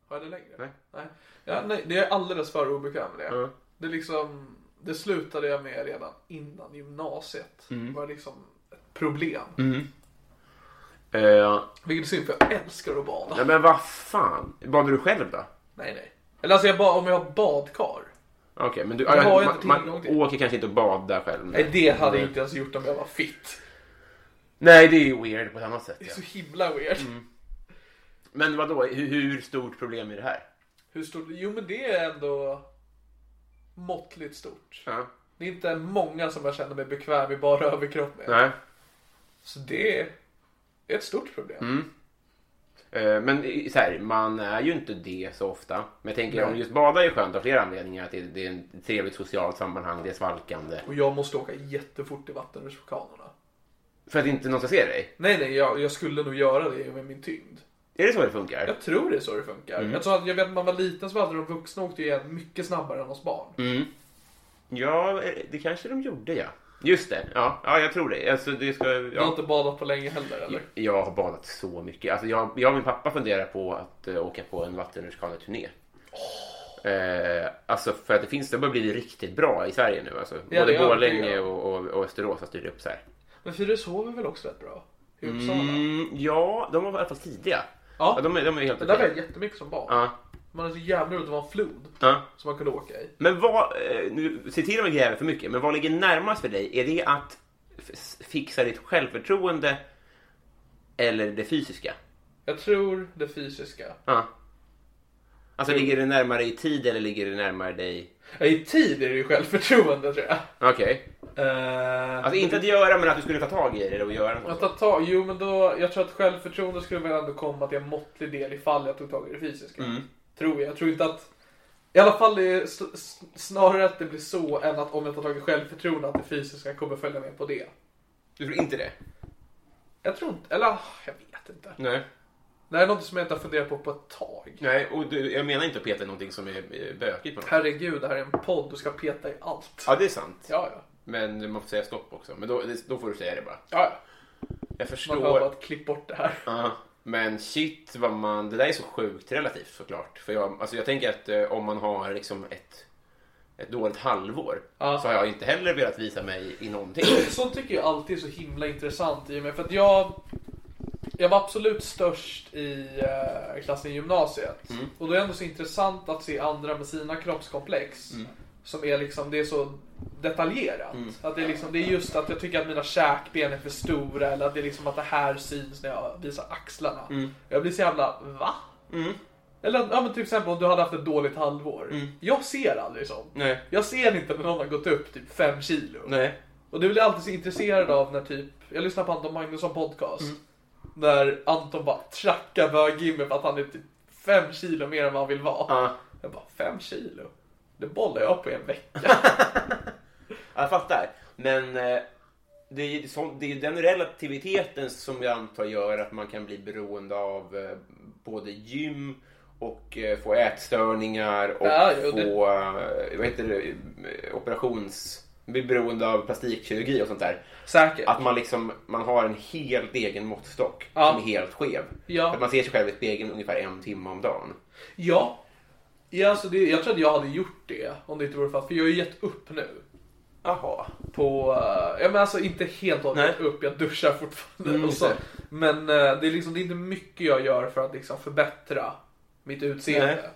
Har jag det längre?
Mm. Nej.
Nej. Ja, nej det är alldeles för obekväm med det.
Ja.
Det, är liksom, det slutade jag med redan innan gymnasiet.
Mm.
Det var liksom ett problem.
Eh,
Vilket är synd för jag älskar att bada.
nej, men vad fan. Badar du själv då?
Nej, nej. Eller alltså jag ba, om jag har badkar.
Okej, men du...
Det har jag
man,
inte tillgång
man
till.
åker kanske inte och badar själv.
Nej, det hade jag inte ens gjort om jag var fit.
Nej, det är ju weird på ett annat sätt.
Det är
Ja.
så himla weird.
Men vadå, hur, hur stort problem är det här?
Hur stort? Jo, men det är ändå måttligt stort.
Ja.
Det är inte många som jag känner mig bekväm i bara överkropp med.
Nej.
Så det är ett stort problem.
Eh, Men i- så här, man är ju inte det så ofta. Men jag tänker om just bada är skönt av flera anledningar. Att det, det är ett trevligt socialt sammanhang, det är svalkande.
Och jag måste åka jättefort i vattenrutschkanorna.
För att inte någon ska se dig.
Nej, nej, jag, jag skulle nog göra det med min tyngd.
Är det så det funkar?
Jag tror det är så det funkar. Jag, tror att, jag vet när man var liten så hade de vuxna åkte ju igen mycket snabbare än oss barn.
Ja, eh, det kanske de gjorde ja. Just det, ja, ja jag tror det. Alltså, det ska,
Du har
ja.
inte badat på länge heller eller?
Jag har badat så mycket. Alltså, jag, jag och min pappa funderar på att eh, åka på en vattenrutschkaneturné. Eh, alltså för att det finns, det börjar bli riktigt bra i Sverige nu. Alltså.
det är
Både
jag
Borlänge
övertygad
och, och, och Österås har styrt upp så här.
Men Fyre sover väl också rätt bra? I Uppsala?
Mm, ja, de var i alla fall tidiga.
Ja.
Ja, de, är, de är helt
Det där var
okej.
jag jättemycket som barn.
Ja,
Man hade så jävla roligt, det var en flod
ja.
som man kunde åka i.
Men vad, eh, nu, se till om jag gräver för mycket, men vad ligger närmast för dig? Är det att f- fixa ditt självförtroende eller det fysiska?
Jag tror det fysiska.
Ja. Alltså ligger det närmare i tid eller ligger det närmare dig?
Ja, I tid är det ju självförtroende tror jag.
Okej.
Eh,
Alltså inte att göra men att du skulle ta tag i det och göra
Att
något.
ta tag, jo men då, jag tror att självförtroende skulle väl ändå komma till en måttlig del ifall jag tog tag i det fysiska.
Mm.
Tror jag. Jag tror inte att, i alla fall det är s- s- snarare att det blir så än att om jag tar tag i självförtroende att det fysiska kommer följa med på det.
Du tror inte det?
Jag tror inte, eller ah, jag vet inte.
Nej.
Det här är något som jag inte har funderat på på ett tag.
Nej, och du, jag menar inte att peta i någonting som är eh, bökigt på något.
Herregud, det här är en podd, du ska peta i allt.
Ja, det är sant.
Ja, ja.
Men man får säga stopp också. Men då, då får du säga det bara.
ja, ja.
Jag
Man
förstår.
behöver bara att klippa bort det här.
Ja, men shit vad man... Det där är så sjukt relativt såklart. För jag, alltså jag tänker att eh, om man har liksom ett, ett dåligt halvår
Ja.
så har jag inte heller velat visa mig i någonting.
(coughs) Sånt tycker jag alltid är så himla intressant i och med för att jag Jag var absolut störst i eh, klassen i gymnasiet
Mm.
och då är det ändå så intressant att se andra med sina kroppskomplex
Mm.
som är liksom, det är så detaljerat. Att det, är liksom, det är just att jag tycker att mina käkben är för stora eller att det är liksom att det här syns när jag visar axlarna.
Mm.
Jag blir så jävla, va? Eller ja, men till exempel om du hade haft ett dåligt halvår. Jag ser aldrig sånt.
Mm. Nej.
Jag ser inte när någon har gått upp typ 5 kilo.
(clears throat) Nej.
Och det blir jag alltid så intresserad av när typ, jag lyssnar på Anton Magnusson podcast. När Anton bara trackar bög-Jimmy för att han är typ 5 kilo mer än vad han vill vara.
Ja.
Jag bara, 5 kilo? Det bollar jag på i en vecka.
Jag fattar. Men eh, det är, ju sånt, det är ju den relativiteten som jag antar gör att man kan bli beroende av eh, både gym och eh, få ätstörningar och
Ja, jo, det-
få eh, vad heter det, eh, operations... Bli beroende av plastikkirurgi och sånt där.
Säkert.
Att man liksom man har en helt egen måttstock
Ja.
som är helt skev.
Ja.
Att man ser sig själv i spegeln ungefär en timme om dagen.
Ja. ja alltså det, jag tror att jag hade gjort det om det inte vore för att, för jag har ju gett upp nu.
Jaha.
På, eh, ja men alltså inte helt och hållet
Nej.
upp, jag duschar fortfarande
Mm,
och så.
just
Men eh, det är liksom, det är inte mycket jag gör för att liksom förbättra mitt utseende.
Nej. Mm.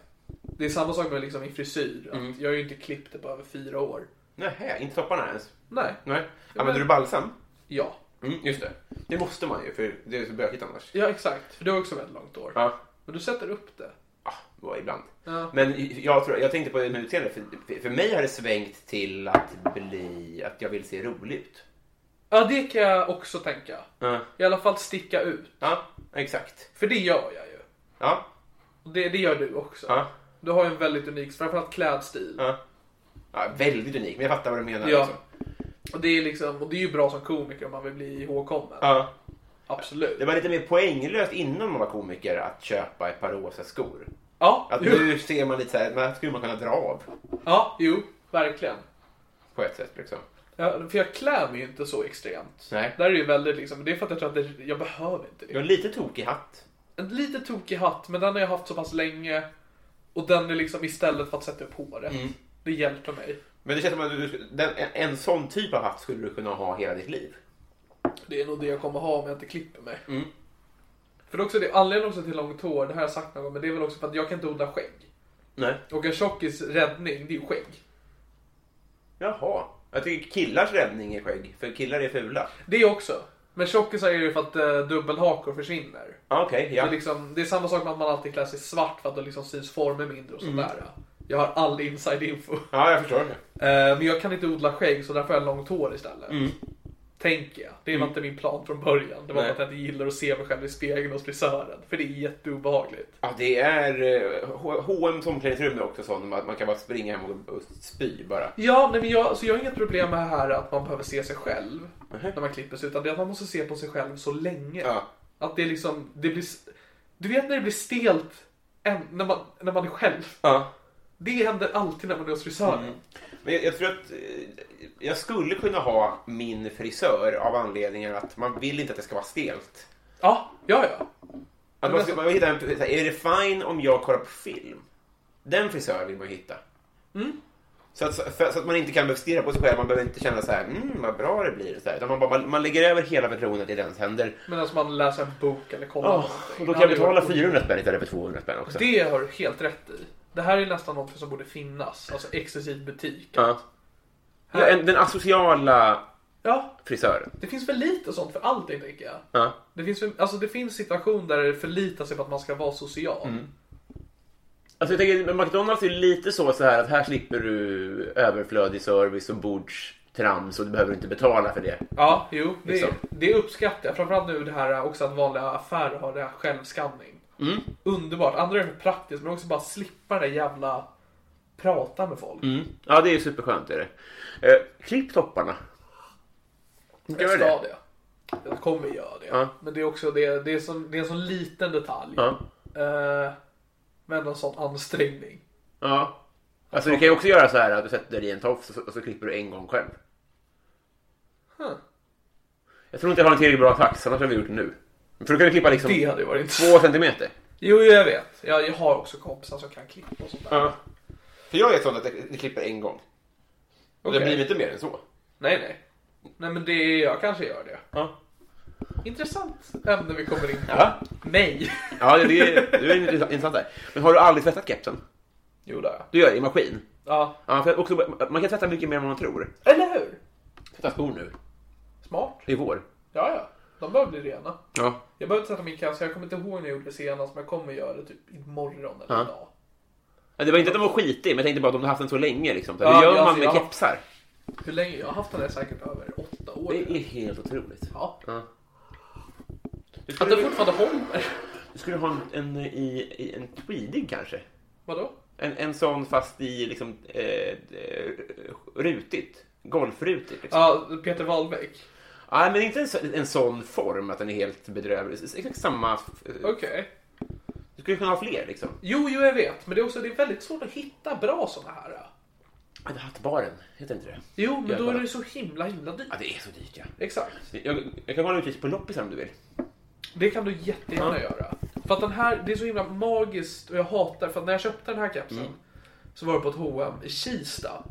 Det är samma sak med liksom min frisyr, att jag har ju inte klippt det på över fyra år.
Nähä, inte topparna ens?
Nej.
Nej. Använder du balsam?
Ja.
Mm, just det. Det måste man ju för det är så bökigt annars.
Ja exakt, för du har också väldigt långt hår.
Ja.
Men du sätter upp det.
Ah, vad ibland.
Ja.
Men jag, tror, jag tänkte på det med utseende. För, för mig har det svängt till att bli att jag vill se rolig ut.
Ja det kan jag också tänka.
Ja.
I alla fall sticka ut.
Ja, exakt.
För det gör jag ju.
Ja.
Och Det, det gör du också.
Ja.
Du har ju en väldigt unik, framförallt klädstil.
ja. ja väldigt unik, men jag fattar vad du menar.
Ja.
Liksom.
Och det är liksom, och det är ju bra som komiker om man vill bli ihågkommen.
Ja.
Absolut.
Det var lite mer poänglöst innan man var komiker att köpa ett par rosa skor.
Ja,
Att
jo,
nu ser man lite så här, den här skulle man kunna dra av
ja, jo verkligen.
på ett sätt. Liksom.
Ja, för jag klär mig ju inte så extremt.
Nej.
Där är ju väldigt liksom, det är för att jag tror att det, jag behöver inte
Du
det.
har en lite tokig hatt.
En lite tokig hatt, men den har jag haft så pass länge. Och den är liksom istället för att sätta upp håret.
Mm.
Det hjälper mig.
Men det känns som att du, du- den, en, en sån typ av hatt skulle du kunna ha hela ditt liv.
Det är nog det jag kommer ha om jag inte klipper mig.
Mm.
För det är också det, anledningen också till långt hår, det här har jag sagt någon gång, men det är väl också för att jag kan inte odla skägg.
Nej.
Och en tjockis räddning, det är ju skägg.
Jaha. Jag tycker killars räddning är skägg, för killar är fula.
Det också. Men tjockisar är ju för att eh, dubbelhakor försvinner.
Ah, Okej,
Det, är
ja.
liksom, det är samma sak med att man alltid klär sig svart för att då liksom syns former mindre
Mm.
och sådär. Jag har all inside info.
Ja, jag förstår.
Eh, Men jag kan inte odla skägg så därför har jag långt hår istället. Tänker jag. Det var inte min plan från början. Det var
Mm.
bara
Nej.
att jag inte gillar att se mig själv i spegeln hos frisören. För det är jätteobehagligt.
Ja, det är eh, H- H&M's omklädningsrum är också sån att man kan bara springa hem och, och spy bara.
Ja, nej, men jag, så jag har inget problem med här att man behöver se sig själv när man klipper sig. Utan det är att man måste se på sig själv så länge.
Mhm. Ja.
Att det liksom, det blir... s- Du vet när det blir stelt en, när, man, när man är själv.
Ja.
Det händer alltid när man är hos frisören.
Mm. Men jag, jag tror att eh, jag skulle kunna ha min frisör av anledningen att man vill inte att det ska vara stelt.
Ja, ja, ja.
Att man ska, man hittar en, så här, är det fine om jag kollar på film? Den frisören vill man ju hitta. Mm. Så, att, så- för, så att man inte kan behöva stirra på sig själv, man behöver inte känna så här, mm, vad bra det blir. Så här, utan man, bara, man, man lägger över hela förtroendet i dens händer.
Medan alltså man läser en bok eller kollar
Ja,
någonting.
och då
Ja,
kan jag
det
betala
var-
400 spänn istället för 200 spänn också.
Det har du helt rätt i. Det här är nästan något som borde finnas. Alltså exklusiv butik.
Ja. Ja, en, den asociala
Ja,
frisören.
det finns för lite sånt för allting tänker jag.
Ja.
Det finns, för, alltså, det finns situationer där det förlitar sig på att man ska vara social.
Mm. Alltså jag tänker, men McDonalds är lite så, så här att här slipper du överflödig service och bordstrams och du behöver inte betala för det.
Ja, jo, det,
Liksom.
det uppskattar jag. Framförallt nu det här också att vanliga affärer har det här självskanning.
Mm.
Underbart. Andra är det praktiskt, men också bara slippa det där jävla prata med folk.
Ja, det är superskönt. Är det. Eh, klipp topparna.
Jag
Gör
ska
det.
det. Jag kommer göra det.
Ja.
Men det är också det, det är, som, det är en sån liten detalj.
Ja.
Eh, men en sån ansträngning.
ja. Alltså, du kan ju också göra så här att du sätter dig i en tofs och så, och så klipper du en gång själv. Jag tror inte jag har en tillräckligt bra sax, annars hade vi gjort det nu. För då kan du klippa liksom
Det hade ju varit intressant.
två centimeter.
Jo, jo, jag vet. Jag, jag har också kompisar som kan klippa och sånt där.
Ja. För jag är sån att jag jag klipper en gång. Och
Okej.
det blir inte mer än så.
Nej, nej. Nej, men det, jag kanske gör det.
Ja.
Intressant ämne vi kommer in på.
Ja.
Mig.
Ja, det, det, är- det (laughs) är intressant där. Men har du aldrig tvättat kepsen?
(laughs) Jo, det har jag.
Du gör det i maskin?
Ja.
Ja, för också, man kan tvätta mycket mer än vad man tror.
Eller hur?
Tvätta skor nu.
Smart.
Det är vår.
Ja, ja. De behöver bli rena.
Ja.
Jag behöver inte sätta min kasse. Jag kommer inte ihåg när jag gjorde det senast, men jag kommer göra det typ imorgon eller
Ja.
idag.
Ja, Det var inte att de var skitig, men jag tänkte bara att de har haft den så länge. Liksom. Så här,
Ja,
Hur gör
ja,
man
så
med
jag-
kepsar?
Hur länge? Jag har haft den här säkert över åtta år.
Det är helt otroligt.
Ja.
Ja. Du,
Att den
skulle,
fortfarande håller.
du skulle ha en, en, i, i en tweedig kanske?
Vadå?
En, en sån fast i liksom eh, eh, rutigt. Golfrutigt. Liksom.
Ja, Peter Wahlbeck.
Nej, men inte en, så- en sån form att den är helt bedrövlig. Exakt samma.
Okej.
Du skulle kunna ha fler liksom.
Jo, jo, jag vet. Men det är också det är väldigt svårt att hitta bra såna här.
Ja, det är Hattbaren, heter inte det?
Jo, men
Jag
då är
kollar.
det så himla, himla dyrt.
Ja, det är så dyrt ja.
Exakt.
Jag, jag kan hålla utkik på loppisar om du vill.
Det kan du jättegärna
Ja.
göra. För att den här, det är så himla magiskt och jag hatar, för att när jag köpte den här kepsen
Mm.
så var det på ett H&M i Kista.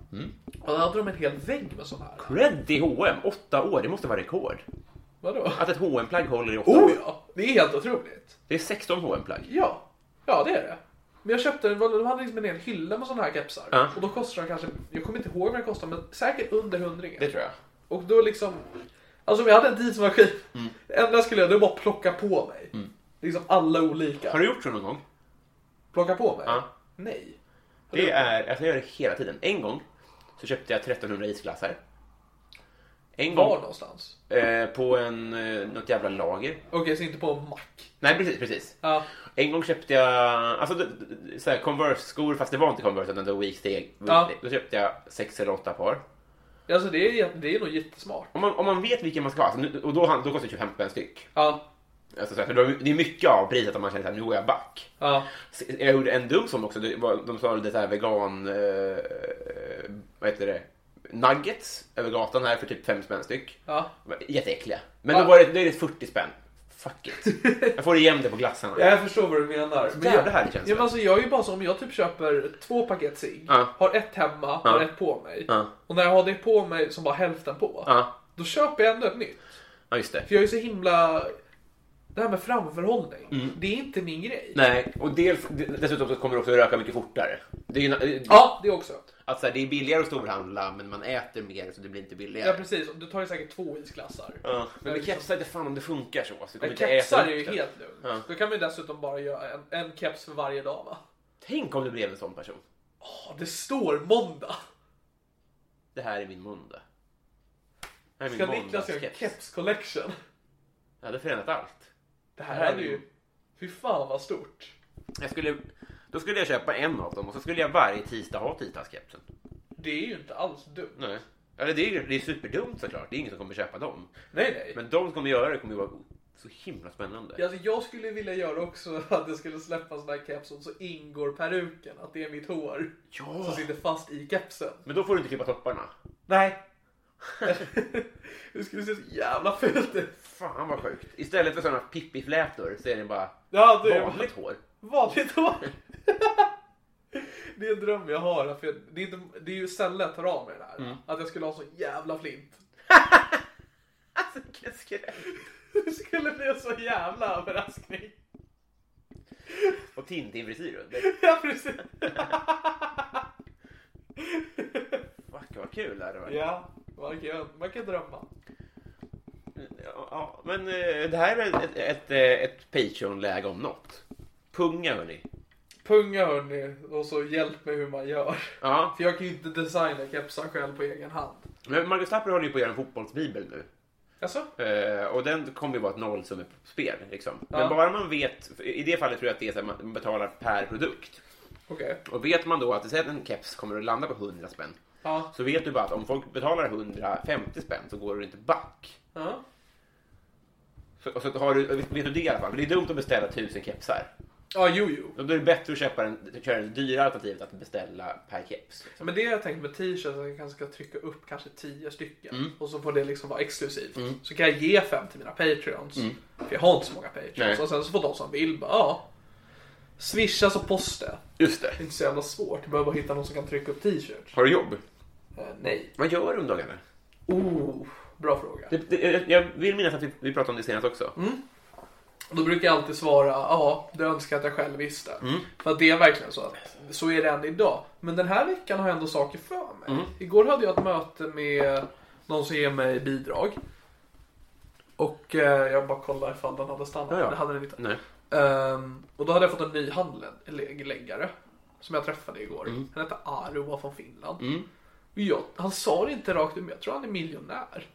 Och då hade de en hel vägg med sån här.
Cred i H&M, åtta år, det måste vara rekord.
Vadå?
Att ett hm plagg håller i åtta
Oh
år.
ja! Det är helt otroligt.
Det är 16 hm plagg
Ja, ja det är det. Men jag köpte den, de hade liksom en hel hylla med sådana här kepsar.
Ja.
Och då kostade de kanske, jag kommer inte ihåg vad den kostade, men säkert under hundringen.
Det tror jag.
Och då liksom, alltså om jag hade en tidsmaskin,
Mm.
det enda jag skulle göra det var bara plocka på mig. Liksom alla olika.
Har du gjort så någon gång?
Plocka på mig?
Ja.
Nej.
Det är, alltså jag gör det hela tiden. En gång så köpte jag 1300 isglassar. En
Var
gång
någonstans?
eh, på en, eh, något jävla lager.
Okej, så inte på en mack.
Nej, precis, precis.
Ja.
En gång köpte jag alltså, d- d- d- så här, Converse-skor, fast det var inte Converse utan det var Weeksteg.
Ja.
Då köpte jag sex eller åtta par.
Alltså det är, jätte- det är nog jättesmart.
Om man, om man vet vilken man ska ha, alltså, nu- och då, han- då kostar det 25 spänn styck.
Ja.
Alltså, så här, för då, det är mycket av priset att man känner att nu går jag back.
Ja.
Så Jag gjorde en dum som också, det var, de sa lite så här vegan, eh, vad heter det, nuggets över gatan här för typ fem spänn styck.
Ja.
De var Jätteäckliga. Men
Ja.
då var det, då är det 40 spänn. Fuck it.
(laughs)
Jag får igen det på glassarna.
Ja, Jag förstår vad du menar.
Men jävla härlig känsla.
Ja, men alltså, jag är ju bara så om jag typ köper två paket cigg,
Ja.
har ett hemma,
Ja.
har ett på mig.
Ja.
Och när jag har det på mig som bara hälften på,
Ja.
då köper jag ändå ett nytt.
Ja, just det.
För jag är så himla... Det här med framförhållning, det är inte min grej.
Nej, och dels, dessutom så kommer du också röka mycket fortare. Det är, ju-
Ja, det också.
att så här, det är billigare att storhandla, men man äter mer så det blir inte billigare.
Ja, precis. Du tar ju säkert två isglassar.
Ja, Men med
liksom-
kepsar vet jag fan om det funkar så. så du kommer
Men
inte
kepsar
äta
är ju
upp det.
helt lugnt.
Ja.
Då kan man ju dessutom bara göra en, en keps för varje dag va?
Tänk om du blev en sån person.
Ja, det står måndag.
Det här är min måndag. Det här är
Ska
min
Niklas göra en
måndagskeps.
keps collection?
Jag hade förändrat allt.
Det här hade ju... Fy fan vad stort.
Jag skulle, då skulle jag köpa en av dem och så skulle jag varje tisdag ha tisdagskepsen.
Det är ju inte alls dumt. Nej,
Nej. Eller det är ju det är superdumt såklart. Det är ingen som kommer köpa dem.
nej.
Men de som kommer göra det kommer ju vara så himla spännande.
Ja, Alltså, jag skulle vilja göra också (laughs) att det skulle släppas den här kepsen så ingår peruken, att det är mitt hår som
Ja!
sitter fast i kepsen.
Men då får du inte klippa topparna.
Nej. (laughs) det skulle se så jävla fult ut.
Fan vad sjukt. Istället för sådana pippiflätor så är det bara
Ja, det är
vanligt
(laughs)
hår.
Vanligt hår. (laughs) det är en dröm jag har. För jag- det, är inte, det är ju sällan jag tar av mig det här. Att jag skulle ha så jävla flint.
Alltså vilken skräck.
Det skulle bli en så jävla överraskning.
Och Tintin-frisyren.
ja, precis.
Fuck vad kul det hade varit.
Ja, man kan, man kan drömma.
Ja, men eh, det här är ett, ett, eh, ett Patreon-läge om något. Punga hörni.
Punga hörni och så hjälp mig hur man gör.
Ja,
För jag kan ju inte designa kepsar själv på egen hand.
men Marcus Tapper håller ju på att göra en fotbollsbibel nu.
Alltså?
Eh, och den kommer ju vara ett nollsummespel. Liksom.
Ja.
Men bara man vet, i det fallet tror jag att det är så att man betalar per produkt.
Okej.
Och vet man då att säg att en keps kommer att landa på 100 spänn.
Ja.
Så vet du bara att om folk betalar 150 spänn så går du inte back.
Ja.
Så, och så har du, vet du det i alla fall? För det är dumt att beställa 1000 kepsar.
Ja, jo, jo.
Då är det bättre att köpa den, köra det dyra alternativet att beställa per keps.
Ja, Men det jag tänkt med t-shirts är att jag kanske ska trycka upp kanske 10 stycken. Och så får det liksom vara exklusivt. Så kan jag ge fem till mina patreons. För jag har inte så många patreons.
Nej.
Och sen så får de som vill bara, ja. Swishas och posta.
Just det.
Det är inte så jävla svårt. Du behöver bara hitta någon som kan trycka upp t-shirts.
Har du jobb?
Eh, nej.
Vad gör du om dagarna?
Oh, bra fråga.
Det, det, jag vill minnas att vi, vi pratade om det senast också.
Då brukar jag alltid svara, ja, det önskar jag att jag själv visste.
Mm.
För att det är verkligen så att så är det än idag. Men den här veckan har jag ändå saker för mig.
Mm.
Igår hade jag ett möte med någon som ger mig bidrag. Och eh, jag bara kollade ifall den hade stannat.
Ja, ja.
Det hade den inte.
Nej.
Ehm, och då hade jag fått en ny handläggare som jag träffade igår.
Mm.
Han hette Aru och var från Finland. Och Jag, han sa det inte rakt ut, men jag tror han är miljonär.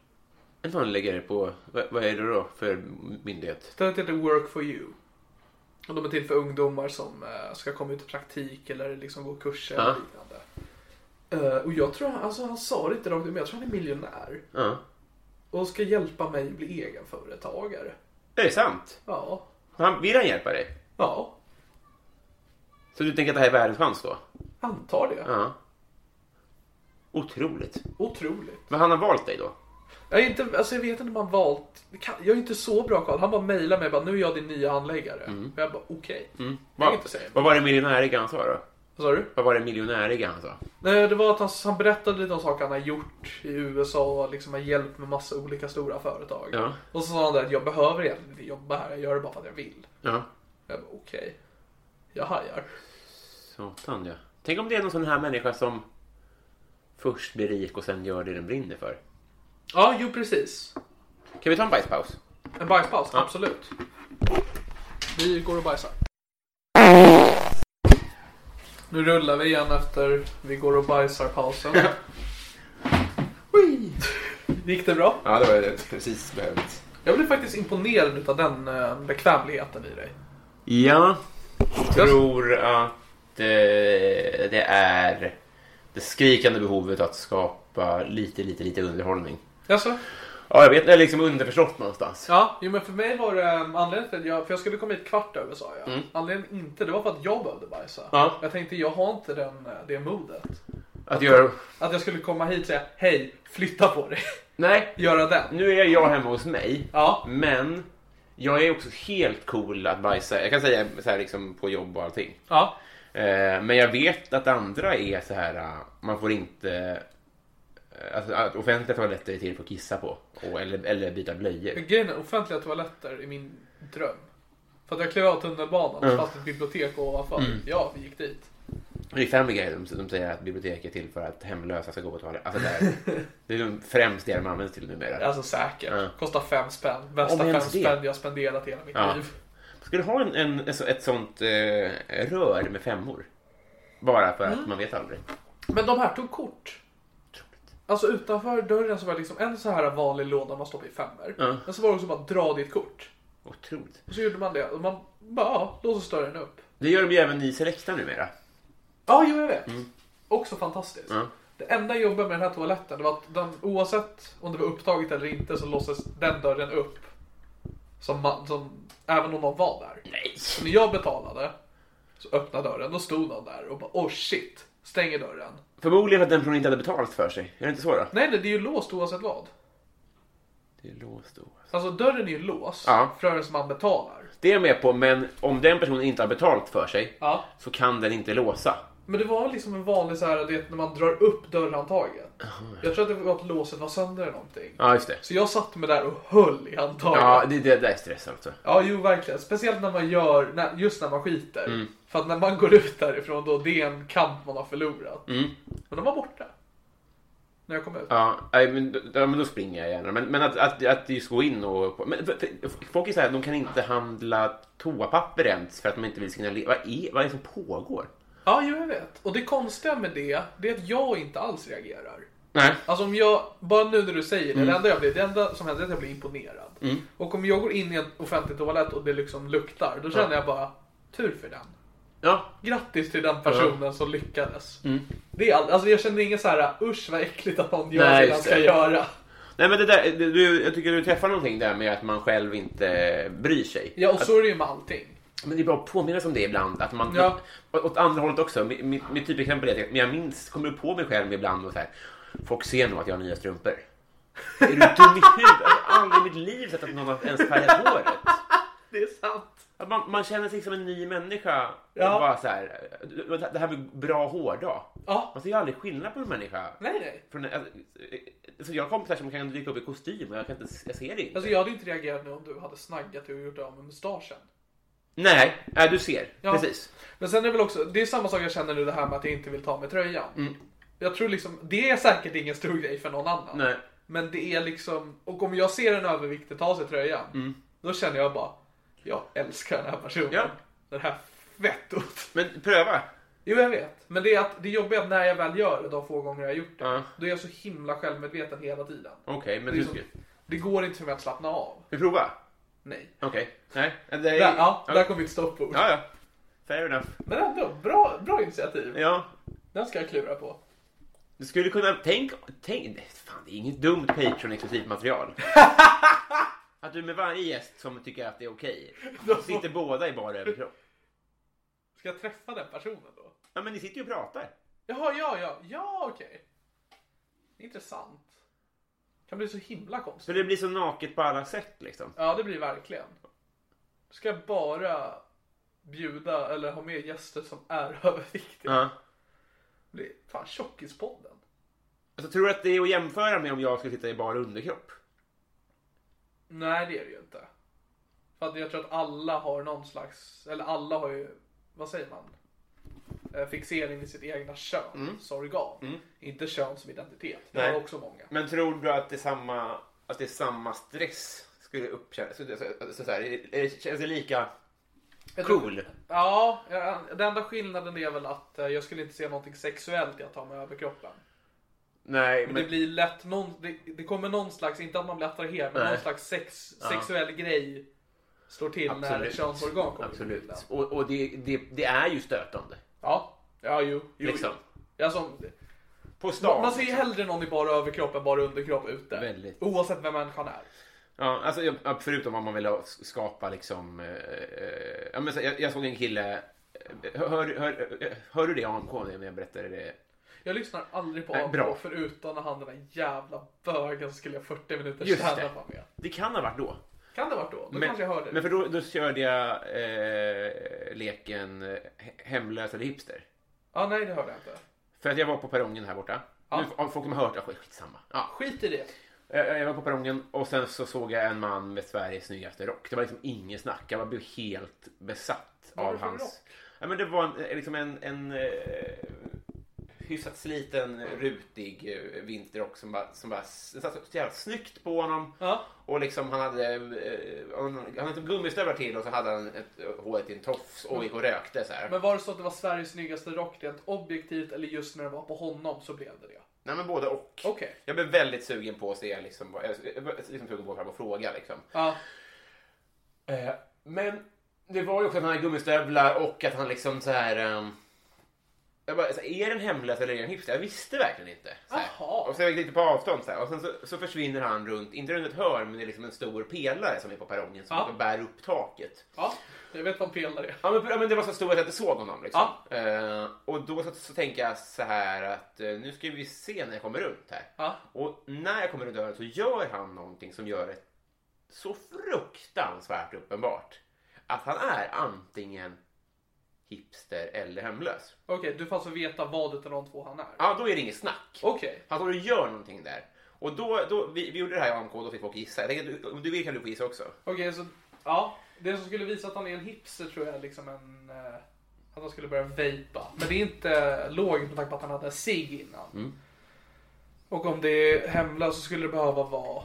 En handläggare på, vad, vad är det då för myndighet?
Stället heter Work for you. Och de är till för ungdomar som eh, ska komma ut i praktik eller liksom gå kurser eller
Ja.
liknande. Eh, och jag tror, han- alltså han sa det inte rakt ut, men jag tror han är miljonär.
Ja.
Och ska hjälpa mig bli egenföretagare.
Är det sant?
Ja.
Han, vill han hjälpa dig?
Ja.
Så du tänker att det här är världens chans då?
Antar det.
Ja. Otroligt.
Otroligt.
Men han har valt dig då?
Jag, är inte, alltså jag vet inte om han valt... det kan- Jag är inte så bra koll. Han bara mejlade mig bara, nu är jag din nya handläggare.
Mm.
Och jag bara, okej. Jag kan
Vad,
inte säga.
vad var det miljonäriga han sa då?
Vad sa du?
Vad var det miljonäriga han sa?
Nej, det var att han, han berättade lite om saker han har gjort i USA och liksom har hjälpt med massa olika stora företag.
Ja.
Och så sa han det att jag behöver egentligen inte jobba här, jag gör det bara för att jag vill.
Ja.
Jag bara okej, jag hajar.
Satan ja. Tänk om det är någon sån här människa som först blir rik och sen gör det den brinner för.
Ja, jo precis.
Kan vi ta en bajspaus?
En bajspaus, absolut. Vi går och bajsar. Nu rullar vi igen efter vi går och bajsar-pausen. Ui. Gick det bra?
Ja, det var det precis behövt.
Jag blev faktiskt imponerad utav den eh, bekvämligheten i dig.
Ja, tror att eh, det är det skrikande behovet att skapa släppa lite, lite, lite underhållning.
Alltså?
Ja, jag vet. Eller liksom underförstått någonstans.
Ja, jo, men för mig var det um, anledningen till att jag, för jag skulle komma hit kvart över sa jag. Anledningen inte, det var för att jag behövde bajsa.
Ja.
Jag tänkte jag har inte den, eh, det modet.
Att göra...
Att jag skulle komma hit och säga hej, flytta på dig. (laughs)
Nej,
Göra den.
nu är jag hemma hos mig.
Ja.
Men jag är också helt cool att bajsa. Jag kan säga så här liksom på jobb och allting.
Ja.
Eh, Men jag vet att andra är så här, eh, man får inte... eh, Alltså, att offentliga toaletter är till för att kissa på. Och, eller, eller byta blöjor.
Men grejen är, offentliga toaletter är min dröm. För att jag klev av tunnelbanan
Mm.
och fast ett bibliotek ovanför. Ja, vi gick dit.
I Family Guy de, de säger att bibliotek är till för att hemlösa ska gå på toaletten. Alltså, det, är, det är de främst det de används till numera.
Alltså säkert.
Ja.
Kostar fem spänn. Bästa
Mm. Om
fem
ens det.
spänn jag spenderat hela mitt
Ja.
liv.
Ska du ha en, en, ett så- ett sånt eh, rör med femmor? Bara för att
Mm.
man vet aldrig.
Men de här tog kort. Alltså utanför dörren så var det liksom en så här vanlig låda man stoppar i femmor.
Ja.
Men så var det också bara dra ditt kort.
Otroligt.
Och så gjorde man det. Och man bara, ja, låt oss dörren upp.
Det gör de ju även i Selecta numera.
Ja, jo jag vet. Också fantastiskt.
Mm. Ja.
Det enda jobbet med den här toaletten det var att den, oavsett om det var upptaget eller inte så låstes den dörren upp. Som, man, som även om någon var där.
Nej.
Så när jag betalade så öppnade dörren, då stod någon där och bara oh shit, stänger dörren.
Förmodligen för att den personen inte hade betalt för sig. Är det inte så då?
Nej, nej det är ju låst oavsett vad.
Det är låst då.
Alltså dörren är ju låst
Ja.
förrän man betalar.
Det är jag med på, men om den personen inte har betalt för sig
Ja.
så kan den inte låsa.
Men det var liksom en vanlig så här, du vet när man drar upp dörrhandtaget. Jag tror att det var att låset var sönder eller någonting.
Ja, just det.
Så jag satt mig där och höll i handtaget.
Ja, det, det, det är stress alltså.
Ja, jo verkligen. Speciellt när man gör, när, just när man skiter.
Mm.
För att när man går ut därifrån då, det är en kamp man har förlorat.
Mm.
Men de var borta. När jag kom ut.
Ja, nej, men, då- ja, men då springer jag gärna. Men, men att, att, att just gå in och... Men, för- för- folk är så här, de kan inte handla toapapper ens för att de inte vill signalera. Vad är, vad är det som pågår?
Ja, jo jag vet. Och det konstiga med det, det är att jag inte alls reagerar.
Nej.
Alltså om jag, bara nu när du säger det,
Mm.
det, enda jag blir, det enda som händer är att jag blir imponerad. Och om jag går in i en offentlig toalett och det liksom luktar, då känner jag bara, tur för den.
Ja, Mm.
Grattis till den personen som lyckades. Det är all, alltså jag känner ingen så här, usch vad äckligt att någon gör
Nej,
det den
just
ska
det.
göra.
Nej men det där, det- du, jag tycker du träffar någonting där med att man själv inte bryr sig.
Ja, och så är det ju med allting.
Men det är bra att påminnas om det ibland. Att man,
Ja.
och, åt andra hållet också. Mitt, mitt, mitt typexempel är att jag- jag minns, kommer på mig själv ibland och så här. Folk ser nog att jag har nya strumpor. Är du dum i huvudet? Jag har aldrig i mitt liv sett att någon har ens färgat håret.
Det är sant.
Att man, man känner sig som en ny människa.
Ja.
Och bara så här, det här med bra hårdag.
Ja.
Man ser ju aldrig skillnad på en människa.
Nej, nej.
Från, alltså, så jag har kompisar som kan dyka upp i kostym och jag, kan inte, jag ser det inte.
Alltså jag hade inte reagerat nu om du hade snaggat och gjort av med mustaschen.
Nej, äh, du ser.
Ja.
Precis.
Men sen är det väl också, det är samma sak jag känner nu det här med att jag inte vill ta med tröjan.
Mm.
Jag tror liksom, det är säkert ingen stor grej för någon annan.
Nej.
Men det är liksom, och om jag ser en överviktig ta av sig tröjan, då känner jag bara, jag älskar den här personen.
Mm. Ja.
Den här fettot.
Men pröva.
Jo, jag vet. Men det är att det jobbiga är att när jag väl gör det, de få gånger jag har gjort det,
Ja.
då är jag så himla självmedveten hela tiden.
Okej, men
Det, är
du
som,
ska...
det går inte för mig att slappna av.
Vi provar.
Nej.
Okej. Nej. Det är...
Där, ja, där kom mitt stoppord.
ja, ja. Fair enough.
Men ändå, bra, bra initiativ.
Ja.
Den ska jag klura på.
Du skulle kunna... Tänk... Tänk... nej, Fan, det är inget dumt
(laughs)
Patreon-exklusivt material. att du med varje gäst som tycker att det är
(laughs)
okej, sitter båda i bara överkropp.
Ska jag träffa den personen då?
Ja, men ni sitter ju och pratar.
Jaha, ja, ja, ja, okej. Intressant. Kan bli så himla
Så
konstigt.
det blir så naket på alla sätt liksom.
Ja, det blir verkligen. Ska jag bara bjuda eller ha med gäster som är (laughs) överviktiga.
Ja.
Det blir fan Tjockispodden.
Alltså, tror du att det är att jämföra med om jag skulle sitta i bara underkropp?
Nej, det är det ju inte. För att jag tror att alla har någon slags, eller alla har ju, vad säger man? Eh, Fixering vid sitt egna könsorgan. Inte kön som identitet. Det
Mm. Nej.
har också många.
Men tror du att det är samma, att det är samma stress skulle uppkännas? Så, så, så, så här, är- är- känns det lika
Jag tror-
cool?
Ja, ja, den enda skillnaden är väl att eh, jag skulle inte se någonting sexuellt i att ta mig över kroppen.
Nej,
Men
men
det blir lätt någon, det, det kommer någon slags, inte att man blir attraherad, men
Nej.
någon slags sex, sexuell grej slår till när
Absolut.
könsorgan kommer in i
absolut.
bilden.
Och, och det, det, det är ju stötande.
Ja, ja jo. jo,
Liksom.
jo. Alltså,
På stan.
Man ser ju hellre någon i bara överkropp än bara underkropp ute.
Väldigt.
Oavsett vem människan är.
Ja, alltså, ja, förutom om man vill ha- skapa liksom... eh, eh, ja, men så, jag, jag såg en kille... eh, Hör, hör, eh, hör du det AMK när jag berättade det?
Jag lyssnar aldrig på
Nej, bra.
AMK förutom när han den där jävla bögen skulle jag 40 minuter
Just det.
stand-up med.
Det kan ha varit då.
Kan det ha varit då? Då kanske jag hörde det.
men för då, då körde jag eh, leken eh, he- hemlös eller hipster.
Ja, nej det hörde jag inte.
För att jag var på perrongen här borta.
Ja.
Nu, ja, folk kommer ha hört det, skit- skitsamma. Ja.
Skit i det.
Jag jag var på perrongen och sen så såg jag en man med Sveriges snyggaste rock. Det var liksom ingen snack. Jag bara blev helt besatt
Vad var
av
det för
hans...
rock?
Ja, men det var en, eh, liksom en, en eh, hyfsat sliten, rutig eh, vinterrock som bara, som bara s- satt så jävla snyggt på honom.
Ja.
Och liksom han hade, eh, han han hade typ gummistövlar till och så hade han ett, eh, håret i en tofs och gick och rökte så här.
Men var det så att det var Sveriges snyggaste rock rent objektivt eller just när det var på honom så blev det det?
Nej men både och.
Okej.
Jag blev väldigt sugen på att se liksom, vad- jag var liksom sugen på att fram och fråga liksom.
Ja.
Eh, Men det var ju också att han hade gummistövlar och att han liksom så här. ehm, Jag bara, så här, är den hemlös eller är den hipster? Jag visste verkligen inte. Så här.
Jaha.
Och så är jag lite på avstånd så här. Och sen så, så försvinner han runt, inte runt ett hörn, men det är liksom en stor pelare som är på perrongen som liksom
Ja.
bär upp taket.
ja, jag vet vad en pelare är.
Ja men, ja, men det var så stort att jag inte såg honom liksom.
Ja.
Eh, och då så, så tänker jag så här att eh, nu ska vi se när jag kommer runt här.
Ja.
Och när jag kommer runt dörren så gör han någonting som gör det så fruktansvärt uppenbart att han är antingen hipster eller hemlös.
Okej, du får alltså veta vad utav de två han är.
Ja, då är det inget snack.
Okej.
Han står och gör någonting där. Och då, då vi, vi gjorde det här i AMK och då fick folk gissa. Jag tänker, att du- om du vill kan du få gissa också.
Okej, så ja. Det som skulle visa att han är en hipster tror jag är liksom en... Eh, att han skulle börja vejpa. Men det är inte logiskt med tanke på att han hade en cigg innan.
Mm.
Och om det är hemlös så skulle det behöva vara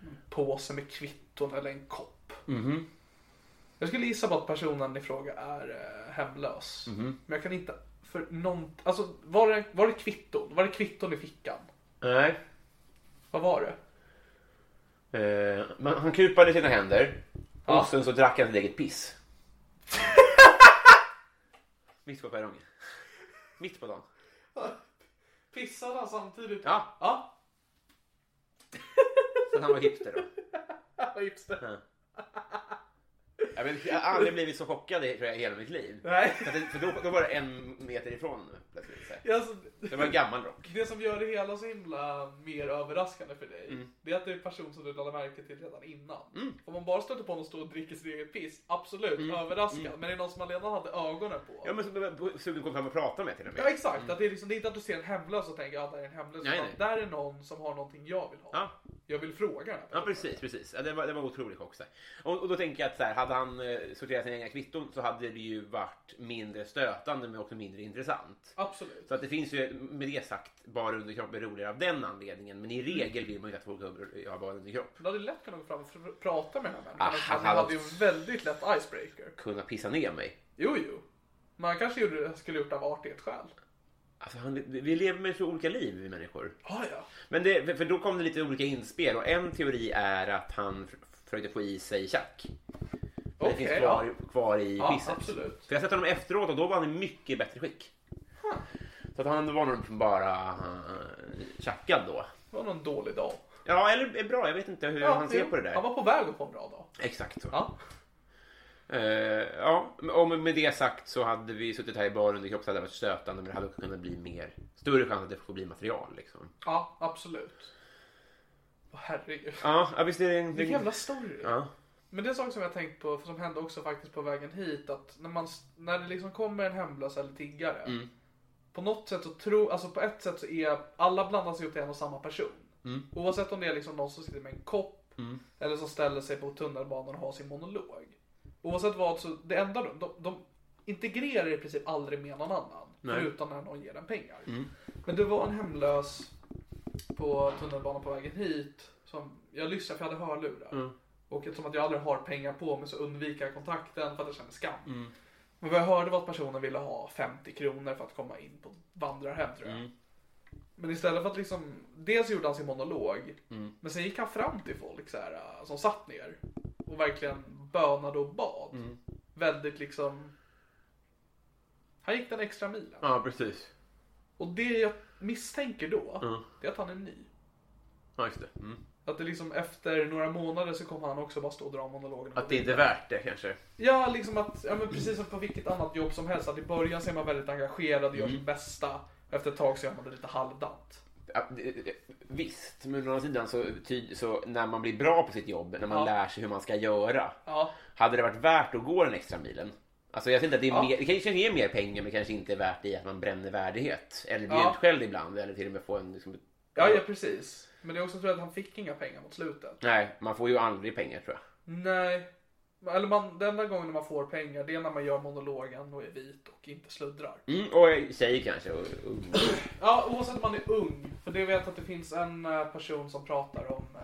en påse med kvitton eller en kopp.
Mhm.
Jag skulle gissa på att personen i fråga är eh, hemlös.
Mhm.
Men jag kan inte... För någon, alltså, var, det, var det kvitton? Var det kvitton i fickan?
Nej.
Vad var det?
Eh, men han kupade sina händer
Ja.
och sen så drack han sitt eget piss. (laughs) Mitt på perrongen. Mitt på dagen.
Pissade han samtidigt?
Ja,
Ja, (laughs)
sen han var hipster då.
vad hipster.
Jag, vet, jag har aldrig blivit så chockad i tror jag, i hela mitt liv.
Nej.
För, att det, för då, då var det en meter ifrån plötsligt. Så här.
Ja, Alltså,
Det var en gammal rock.
det som gör det hela så himla mer överraskande för dig,
Mm.
det är att det är en person som du lade märke till redan innan. Om man bara stöter på någon stå och dricker sitt eget piss, absolut, överraskad. Men det är någon som man redan hade ögonen på.
Mm. Ja, men så blev jag sugen på att komma fram och prata med till och
Ja,
med.
exakt, att det, är liksom, det är inte att du ser en hemlös och tänker att där är en hemlös.
Nej,
utan
nej.
Där är någon som har någonting jag vill ha.
Ja.
Jag vill fråga den här
Ja,
personen.
precis. precis. Ja, det, var, det var en otrolig chock. så här. Och, och då tänker jag att så här, hade han eh, sorterat sina egna kvitton så hade det ju varit mindre stötande men också mindre intressant.
Absolut.
Så att det finns ju med det sagt bara underkropp är roligare av den anledningen. Men i regel vill man ju inte att folk har bara underkropp.
Du hade lätt kunnat gå fram och fr- prata med den här
Ah,
människan. Han
han-
hade ju en väldigt lätt icebreaker.
Kunna pissa ner mig.
Jo, jo. Man kanske gjorde, skulle gjort det av artighetsskäl.
Alltså, han, vi lever med så olika liv vi människor.
Ah, ja.
Men det, för- för då kom det lite olika inspel och en teori är att han f- försökte få i sig tjack. Men det
Okej,
finns kvar, kvar i
Ja,
pisset.
absolut.
För jag har sett honom efteråt och då var han i mycket bättre skick. Så att han var nog bara eh, tjackad då.
Det var någon dålig dag.
Ja, eller är bra. Jag vet inte hur han ser
jo,
på det där.
Han var på väg att få en bra dag.
Exakt så.
Ja.
Eh, ja, och med det sagt så hade vi suttit här i baren under kropp så hade det varit stötande men det hade också kunnat bli mer, större chans att det får bli material liksom.
ja, absolut. Åh, herregud.
Ja, ja, visst är det en...
Vilken jävla story.
Ja.
Men det är en sak som jag tänkt på, för som hände också faktiskt på vägen hit, att när, man, när det liksom kommer en hemlös eller tiggare, på något sätt så tror, alltså på ett sätt så är alla blandas ihop till en och samma person. Oavsett om det är liksom någon som sitter med en kopp, eller som ställer sig på tunnelbanan och har sin monolog. Oavsett vad så, det enda de, de, de integrerar i princip aldrig med någon annan, förutom när någon ger den pengar. Men det var en hemlös på tunnelbanan på vägen hit, som, jag lyssnade för jag hade hörlurar. Och eftersom att jag aldrig har pengar på mig så undviker jag kontakten för att jag känner skam.
Mm.
Men vad jag hörde var att personen ville ha 50 kronor för att komma in på vandrarhem tror jag.
Mm.
Men istället för att liksom, dels gjorde han sin monolog,
Mm.
men sen gick han fram till folk så här, äh, som satt ner och verkligen bönade och bad.
Mm.
Väldigt liksom, han gick den extra milen.
ja, precis.
Och det, jag misstänker då, det är att han är ny.
Ja, just det. Mm.
Att det liksom efter några månader så kommer han också bara stå och dra monologerna.
Att det inte är värt det kanske.
Ja, liksom att, ja men precis som på vilket annat jobb som helst. Att i början så är man väldigt engagerad och gör sitt bästa. Efter ett tag så gör man det lite halvdant.
Ja, det- det- Visst, men å andra sidan så, ty, så när man blir bra på sitt jobb, när man
Ja.
lär sig hur man ska göra,
Ja.
hade det varit värt att gå den extra milen? Alltså jag ser inte att det, är
Ja.
mer, det kanske ger mer pengar men kanske inte är värt det i att man bränner värdighet. Eller blir
Ja.
utskälld ibland eller till och med får en... Liksom,
Ja, ja precis. Men det är också tror jag att han fick inga pengar mot slutet.
Nej, man får ju aldrig pengar tror jag.
Nej. Eller man, den enda gången man får pengar det är när man gör monologen och är vit och inte sluddrar.
Mm, och tjejer kanske. Och, och,
Ja, oavsett om man är ung. För det vet jag att det finns en eh, person som pratar om eh,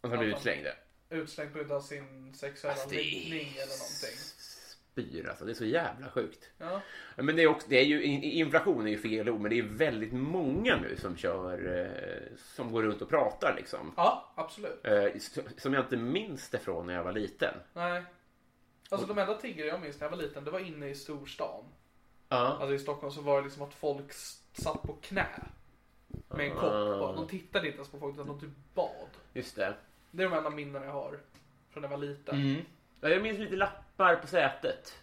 och som blir utslängda.
utslängd på grund av sin sexuella
Alltså, det är-
riktning eller någonting.
Spyr alltså, det är så jävla sjukt.
Ja.
Men det är, också, det är ju, in- inflation är ju fel ord, men det är väldigt många nu som kör, eh, som går runt och pratar liksom.
ja, absolut.
Eh, s- Som jag inte minns det från när jag var liten.
Nej. Alltså de enda tiggare jag minns när jag var liten, det var inne i storstan.
Ja.
Alltså i Stockholm så var det liksom att folk s- satt på knä. Med en kopp
Ah.
bara. De tittade inte ens på folk utan de typ bad.
Just det.
Det är de enda minnen jag har. Från när jag var liten.
Mm. Ja, Jag minns lite lappar på sätet.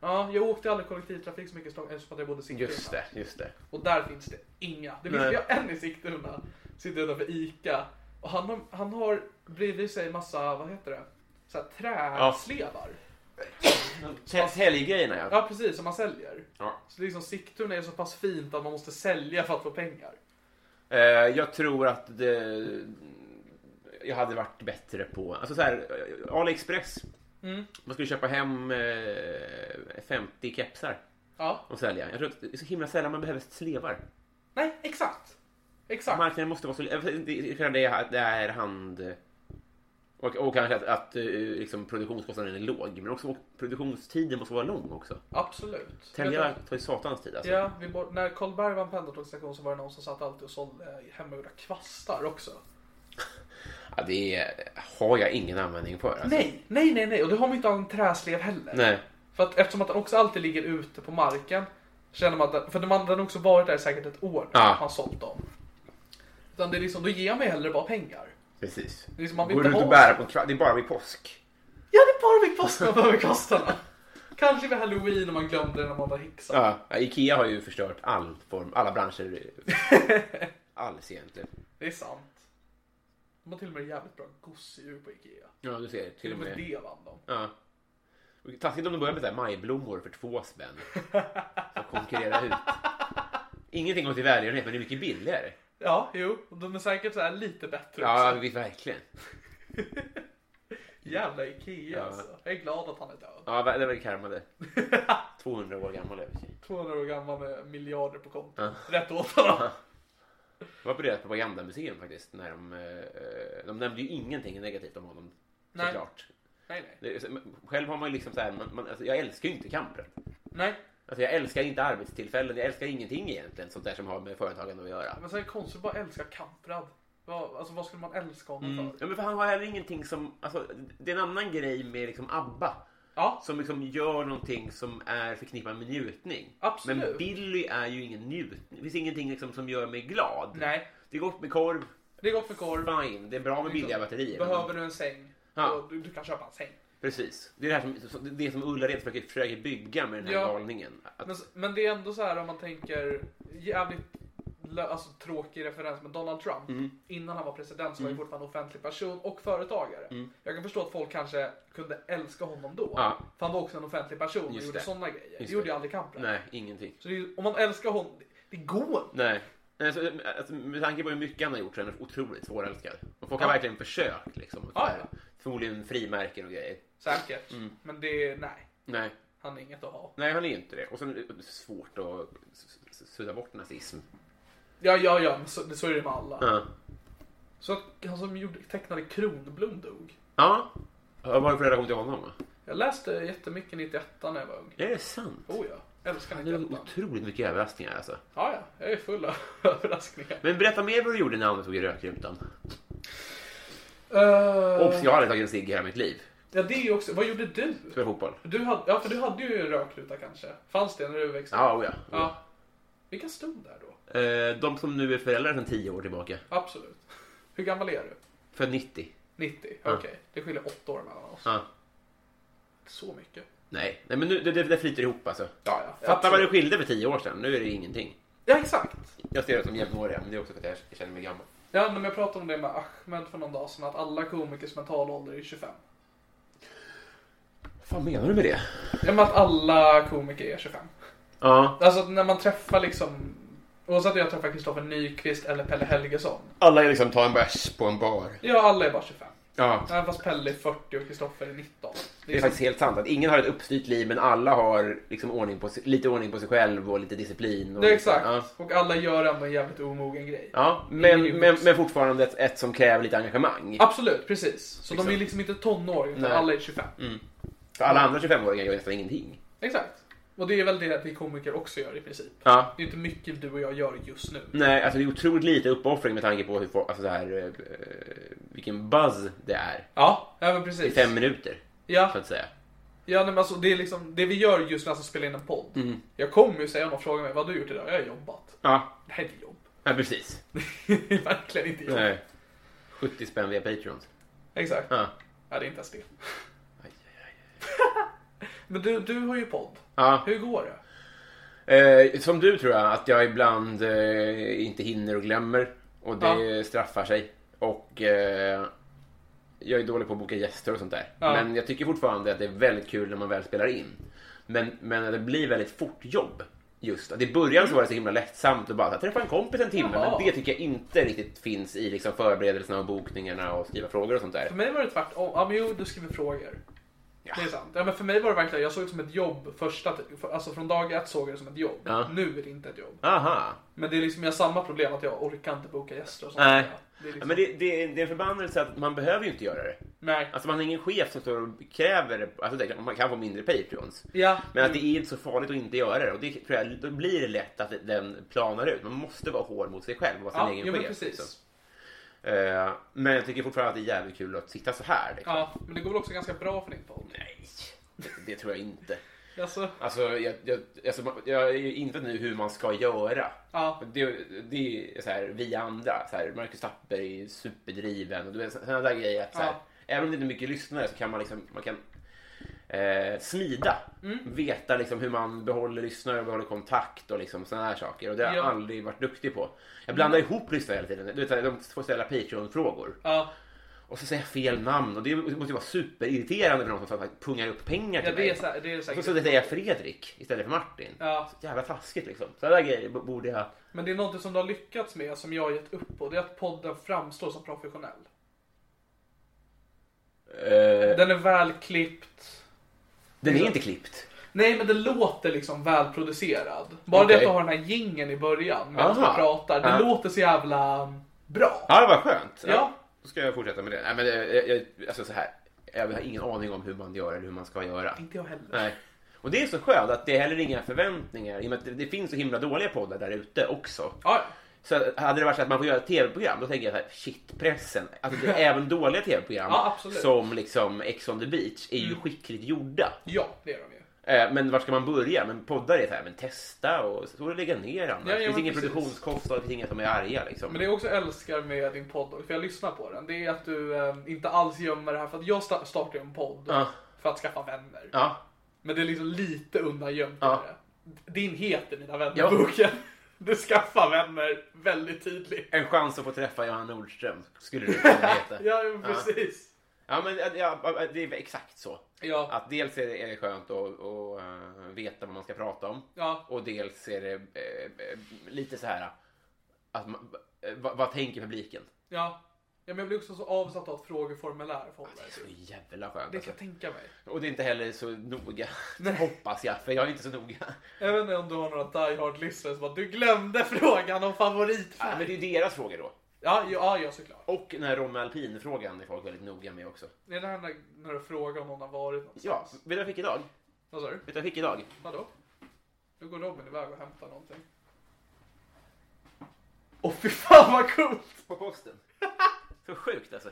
Ja, jag åkte aldrig kollektivtrafik så mycket i Stockholm eftersom att jag bodde i Sigtuna.
Just det, just det.
Och där finns det inga. Det finns
Nej.
jag en i Sigtuna. Sitter utanför ICA. Och han har, han har bredvid sig massa, vad heter det? Så här, träslevar.
Helggrejerna ja.
Ja precis, som man säljer.
ja.
Så liksom Sigtuna är så pass fint att man måste sälja för att få pengar.
Eh, Jag tror att det, jag hade varit bättre på... Alltså så här, eh, AliExpress.
Mm.
Man skulle köpa hem eh, 50 kepsar
Ja.
och sälja. Jag tror att det är så himla sällan man behöver slevar.
Nej, exakt. Exakt.
Marknaden måste vara så... eh, det- Det är, det är hand... Och, och kanske att, att eh, liksom produktionskostnaden är låg, men också produktionstiden måste vara lång också.
Absolut.
Tälja
Vet
tar ju satans tid
du-
alltså.
Ja, vi bor- när Karlberg var en pendeltågsstation så var det någon som satt alltid och sålde hemmagjorda kvastar också.
Ja, det är, har jag ingen användning för. Alltså.
Nej, nej, nej, nej. Och det har man inte av en träslev heller.
Nej.
För att eftersom att den också alltid ligger ute på marken. Känner man att den, för den har den har också varit där säkert ett år.
Ja.
när Man har sålt dem. Utan det är liksom, då ger man ju hellre bara pengar.
Precis.
Det är som man vill
Går
inte
runt
ha-
och bära på en kva- Det är bara vid påsk.
Ja, det är (laughs) bara vid posten man behöver kostarna. Kanske vid halloween om man glömde det när man var häxa.
Ja, Ikea har ju förstört all form,
(laughs)
alla branscher. Alls egentligen.
Det är sant. De har till och med jävligt bra gosedjur på Ikea.
Ja, du ser. Till och med.
det vann de.
Ja. Och Taskigt om de börjar med så här majblommor för två spänn. Som konkurrerar ut. Ingenting går till välgörenhet, men det är mycket billigare.
Ja, jo. och De är säkert så här lite bättre
Ja,
också.
vi- verkligen.
Jävla Ikea
Ja.
alltså. Jag är glad att han är död.
Ja, det var ju
(laughs)
karma det. 200 år gammal över sig.
200 år gammal med miljarder på kontot. Rätt åt honom.
Jag var på deras propagandamuseum faktiskt. När de, eh, de nämnde ju ingenting negativt om honom.
Nej.
Såklart.
nej, nej.
Det, är så- men själv har man ju liksom så här, man, man, alltså, jag älskar ju inte kampen.
Nej.
Alltså, jag älskar inte arbetstillfällen, jag älskar ingenting egentligen sånt där som har med företagande att göra.
Men sen är det konstigt att bara älska Kamprad. Vad, alltså vad skulle man älska honom för?
Ja, men för han har heller ingenting som, alltså, det är en annan grej med liksom ABBA.
Ja.
Som liksom gör någonting som är förknippat med njutning.
Absolut.
Men Billy är ju ingen njutning. Det finns ingenting liksom som gör mig glad.
Nej.
Det är gott med korv,
Det är gott för korv. Liksom,
fine. Det är bra med billiga batterier.
Behöver du en säng?
Ja.
då- Du, du kan köpa en säng.
Precis. Det är det, här som, det är som Ullared försöker, försöker bygga med den här
Ja.
galningen. Att,
Men, men det är ändå så här om man tänker jävligt lö- alltså, tråkig referens men Donald Trump
Mm.
innan han var president så var han fortfarande offentlig person och företagare. Jag kan förstå att folk kanske kunde älska honom då.
Mm. Ja.
För han var också en offentlig person och
Just
gjorde
det.
sådana grejer.
Just
det gjorde
det.
ju aldrig Kamprad.
nej, ingenting.
Så det är, ju- om man älskar honom, det, det går inte.
Nej. Nej, så, alltså, med tanke på hur mycket han har gjort så är han otroligt svårälskad. Och folk har
Ja.
verkligen försökt. Liksom, och
Ja,
sådär.
ja.
Förmodligen frimärken och grejer.
Säkert.
Mm.
Men det, nej.
Nej.
Han är inget att ha.
Nej, han är ju inte det. Och sen är det svårt att s- s- sudda bort nazism.
Ja, ja, ja. Men så, det, så är det med alla.
Ja.
Så att han som gjorde, tecknade Kronblom dog.
Ja. Vad har du för relation till honom? va?
Jag läste jättemycket 91 när jag var ung.
Är det sant?
Oh ja. Älskar
Det
91
är otroligt mycket överraskningar alltså.
Ja, ja, jag är full av (laughs) överraskningar.
Men berätta mer vad du gjorde när han tog i rökrutan.
Eh,
Obs, jag har aldrig tagit en cigg i hela mitt liv.
ja, det är ju också, vad gjorde du?
Spelar fotboll.
du hade, ja, för du hade ju en rökruta kanske. Fanns det när du växte upp?
Ja, oh ja.
ja. Vilka stod där då?
Eh, de som nu är föräldrar sedan 10 år tillbaka.
Absolut. Hur gammal är du?
För 90.
90?
Ja.
Okej, det skiljer åtta år mellan oss.
Ja.
Så mycket.
Nej, Nej men nu, det, det, det flyter ihop alltså.
Ja, ja.
Fattar vad det
Absolut.
skilde för 10 år sedan. Nu är det ingenting.
Ja, exakt.
Jag ser det som jämnåriga, men det är också för att jag känner mig gammal.
Ja, men jag pratade om det med Ahmed för någon dag sedan, att alla komikers mentala ålder är 25.
Vad menar du med det?
Ja, men att alla komiker är 25.
Ja.
Alltså att när man träffar liksom, oavsett om jag träffar Kristoffer Nyqvist eller Pelle Helgesson.
Alla är liksom ta en bärs på en bar.
Ja, alla är bara 25.
Ja.
Även fast Pelle är 40 och Kristoffer är 19. Det
Det är
är
faktiskt helt sant att ingen har ett uppstyrt liv men alla har liksom ordning på, sig- lite ordning på sig själv och lite disciplin. Och
Det är
liksom- Ja.
exakt. Och alla gör ändå en jävligt omogen grej.
Ja, men,
Ingen
men,
vuxen.
men fortfarande ett, ett som kräver lite engagemang.
Absolut, precis. Så
Exakt.
de är liksom inte tonåringar, utan
Nej. Mm.
alla är 25.
För alla andra 25-åringar gör nästan ingenting.
Exakt. Och det är väl det vi komiker också gör i princip.
Ja.
Det är inte mycket du och jag gör just nu.
Nej, alltså det är otroligt lite uppoffring med tanke på hur, få- alltså så här, eh, eh, vilken buzz det är.
Ja, ja men
I
precis.
fem minuter,
Ja,
så att säga.
ja nej, men alltså, det är liksom det vi gör just när vi spelar in en podd.
Mm.
Jag kommer ju säga om någon frågar mig vad har du gjort idag. Jag har jobbat.
Ja.
Det här är inte jobb. (laughs)
Ja, precis.
det är verkligen inte jobb.
Nej. 70 spänn via Patreons.
Exakt.
Ja.
Ja, det är inte ens det. (laughs) men du, du har ju podd.
Ja.
Hur går det?
Eh, som du tror jag, att jag ibland eh, inte hinner och glömmer. Och det straffar sig. Och eh, jag är dålig på att boka gäster och sånt där.
Ja.
Men jag tycker fortfarande att det är väldigt kul när man väl spelar in. Men, men det blir väldigt fort jobb. Just att i början så var det så himla lättsamt och bara så här, träffa en kompis en timme.
Jaha.
Men det tycker jag inte riktigt finns i liksom förberedelserna och bokningarna och skriva frågor och sånt där.
För mig var det tvärtom. Ja, men jo, du skriver frågor. Det är sant. Ja, men för mig var det verkligen, jag såg det som ett jobb första, för- alltså från dag ett såg jag det som ett jobb.
Ja.
Nu är det inte ett jobb.
Aha.
Men det är liksom, jag har samma problem att jag orkar inte boka gäster och sånt.
Nej.
Det är
Ja,
liksom,
Men det, det, det är en förbannelse att man behöver ju inte göra det.
nej.
Alltså man har ingen chef som står och kräver det. Alltså det är klart, man kan få mindre Patreons.
Ja.
Men att det är inte så farligt att inte göra det. Och det tror jag, då blir det lätt att den planar ut. Man måste vara hård mot sig själv och vara sin
Ja,
egen
jo, men
chef.
precis.
liksom. Eh, men jag tycker fortfarande att det är jävligt kul att sitta så här. Liksom.
Ja, men det går väl också ganska bra för din podd?
Nej, det, det tror jag inte.
Alltså,
Alltså, jag, jag, alltså, man- jag är ju inför nu hur man ska göra.
Ja.
Det, det är så här, vi andra, så här, Marcus Tapper är superdriven och du vet, sådana där grejer. Att, så här,
Ja.
Även om det inte är mycket lyssnare så kan man liksom, man kan eh, smida.
Mm.
Veta liksom hur man behåller lyssnare och behåller kontakt och liksom sådana här saker. Och det har jag
Ja. Mm.
aldrig varit duktig på. Jag blandar ihop lyssnare hela tiden. Du vet, så här, de får ställa Patreon-frågor.
ja,
Och så säger jag fel namn och det måste ju vara superirriterande för någon som faktiskt pungar upp pengar
ja
till
det är
mig.
säkert. Det är
Och
säkert.
så säger jag Fredrik istället för Martin.
Ja.
Så jävla taskigt liksom. Sådana där grejer b- borde jag... Eh,
Men det är något som du har lyckats med som jag har gett upp på. Det är att podden framstår som professionell.
Eh,
Den är välklippt.
den är inte klippt.
Nej, men det låter liksom välproducerad. Bara det
Okej.
att du har den här gingen i början medan
Aha.
du pratar. Det
Ja.
låter så jävla mm, bra.
Ja, det var skönt.
Ja.
Då ska jag fortsätta med det. Nej, men eh, jag, jag, alltså så här. Jag har ingen aning om hur man gör eller hur man ska göra.
Inte jag heller.
Nej. Och det är så skönt att det är heller inga förväntningar. I och med att det, det finns så himla dåliga poddar där ute också.
Ja,
Så hade det varit så att man får göra ett tv-program, då tänker jag så här, shit, pressen. Alltså
(laughs)
det är även dåliga tv-program
Ja, absolut. Mm.
som liksom Ex on the beach är ju skickligt gjorda.
ja, det är de ju.
Eh, Men var ska man börja? Men poddar är så här, men testa och så får du lägga ner annars.
Ja, ja,
det finns
men
ingen
precis.
produktionskostnad, det finns inga som är arga liksom.
Men det jag också älskar med din podd, för jag lyssnar på den, det är att du eh, inte alls gömmer det här. För att jag sta- startade ju en podd
Ja.
för att skaffa vänner.
Ja,
Men det är liksom lite undangömt.
Ja.
i det. Din heter Mina
Ja.
vänner-boken. (laughs) Du skaffar vänner väldigt tydligt.
en chans att få träffa Johan Nordström skulle
(laughs)
det kunna heta.
Ja, men precis.
Ja, men eh, ja, det är exakt så.
Ja.
Att dels är det, är det skönt att, att eh, veta vad man ska prata om.
Ja.
Och dels är det eh, eh, lite så här att man, eh, vad, vad tänker publiken?
Ja. ja, men jag blir också så avsatt av ett frågeformulär. För typ.
Det är så
det,
jävla skönt.
det kan
Alltså.
jag tänka mig.
Och det är inte heller så (laughs) noga, hoppas jag, för jag är inte så noga.
Även om du har några die hard lyssnare som bara du glömde (laughs) frågan om
Ja,
favoritfärg.
men det är deras frågor då.
Ja, ja, ja, ja såklart.
Och den här Romme Alpin-frågan är folk väldigt noga med också.
Det är det här när, när du frågar om någon har varit
Ja,
någonstans.
vet du vad jag fick idag?
Vad sa du?
Vet du vad jag fick idag?
Vadå? Nu går Robin iväg och hämtar någonting. Åh fy fan vad coolt!
På posten. (laughs) Så sjukt alltså.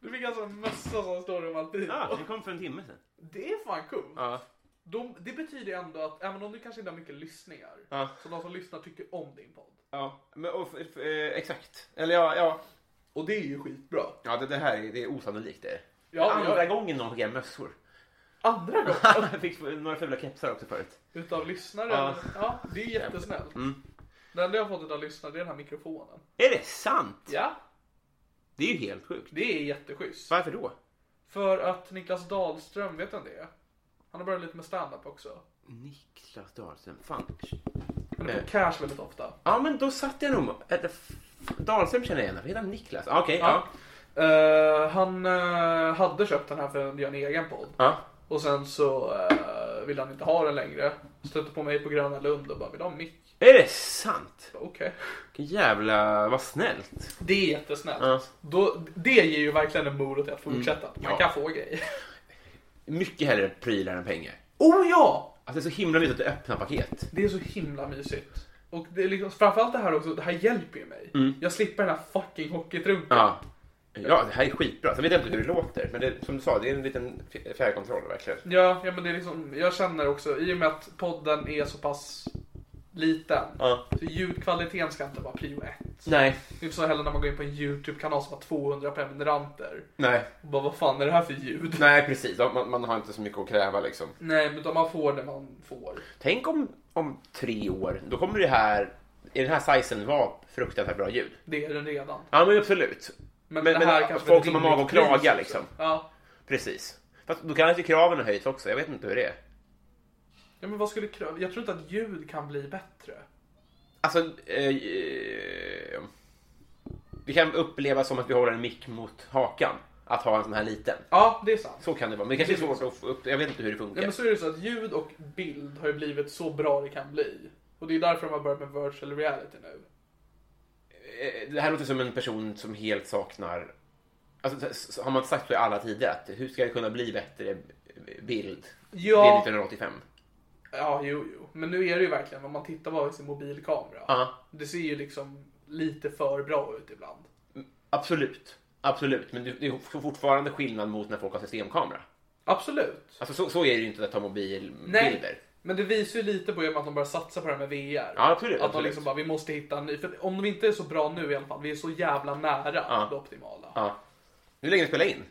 Du fick alltså en mössa som står Romalpin
Ja,
på.
den kom för en timme sedan.
Det är fan coolt.
Ja.
de, det betyder ändå att även om du kanske inte har mycket lyssningar,
Ja.
så de som lyssnar tycker om din podd.
Ja, men, och, f- f- eh, exakt. Eller ja, ja.
Och det är ju skitbra.
Ja, det, det här är, det är osannolikt det.
Ja,
Andra
jag-
gången någon skickade mössor.
Andra gången
Jag fick några fula kepsar också förut.
utav lyssnare. Ja.
Ja. Mm.
det är jättesnällt. Det enda jag har fått utav lyssnare det är den här mikrofonen.
Är det sant?
Ja,
Det är ju helt sjukt.
det är jätteschysst.
Varför då?
För att Niklas Dahlström, vet han det? Han har börjat lite med stand-up också.
Niklas Dahlström, fan.
Han är
Eh.
på cash väldigt ofta.
Ja, men då satt jag nog... Äh, f- Dahlström känner jag igen. Vad heter han? Niklas? Ah, Okej, ja.
Eh, han eh, hade köpt den här för att göra en egen podd.
ja.
Och sen så eh, ville han inte ha den längre. Stötte på mig på Gröna Lund och bara, vill du ha en mick?
Är det sant?
Jag bara, Okej. (laughs)
Vilken jävla... Vad snällt.
Det är jättesnällt.
Ja. Mm.
Då, det ger ju verkligen en morot till att fortsätta. Man
Ja.
kan få grejer. (laughs)
Mycket hellre prylar än pengar.
Oh ja!
Alltså, det är så himla mysigt att öppna paket.
Det är så himla mysigt. Och det är liksom, framförallt det här också, det här hjälper ju mig. Jag slipper den här fucking hockeytrunken.
Mm. Ja. Ja, det här är skitbra. Sen vet jag inte hur det låter, men det, som du sa, det är en liten f- fjärrkontroll verkligen.
Ja, ja, men det är liksom, jag känner också, i och med att podden är så pass liten,
Ja.
så ljudkvaliteten ska inte vara prio ett.
Nej.
Det är inte så heller när man går in på en YouTube-kanal som har 200 prenumeranter.
Nej.
Och bara, vad fan är det här för ljud?
Nej, precis. Ja, Man, man har inte så mycket att kräva liksom.
Nej, utan man får det man får.
Tänk om, om tre år, då kommer det här, i den här sizen vara fruktansvärt bra ljud.
Det är den redan.
Ja, men absolut.
Men,
Men-
det
men
här kanske
folk
blir
som har mag
rimligt
att klaga,
pris också.
liksom.
Ja.
Precis. Fast då kanske kraven har höjts också. Jag vet inte hur det är.
ja, men vad skulle krö- Jag tror inte att ljud kan bli bättre.
Alltså, eh, eh, det kan upplevas som att vi håller en mick mot hakan. Att ha en sån här liten.
Ja, det är sant.
Så kan det vara. Men det kanske är svårt att få upp. Jag vet inte hur det
Ja,
funkar.
men så är det så att ljud och bild har ju blivit så bra det kan bli. Och det är därför de har börjat med virtual reality nu.
Eh, Det här låter som en person som helt saknar... Alltså, s- s- har man inte sagt så i alla tider? Att hur ska det kunna bli bättre bild?
Ja.
Det är 1985.
Ja, jo, jo. Men nu är det ju verkligen, om man tittar bara i sin mobilkamera.
Ja.
Det ser ju liksom lite för bra ut ibland.
Absolut. Absolut. Men det det är fortfarande skillnad mot när folk har systemkamera.
Absolut.
Alltså så, så är det ju inte att ta mobilbilder.
Men det visar ju lite på i och med att de börjar satsa på det här med VR.
Ja, absolut,
Att de
absolut.
liksom bara, vi måste hitta en ny. För om de inte är så bra nu i alla fall, vi är så jävla nära det optimala.
Ja. Nu lägger vi spela in.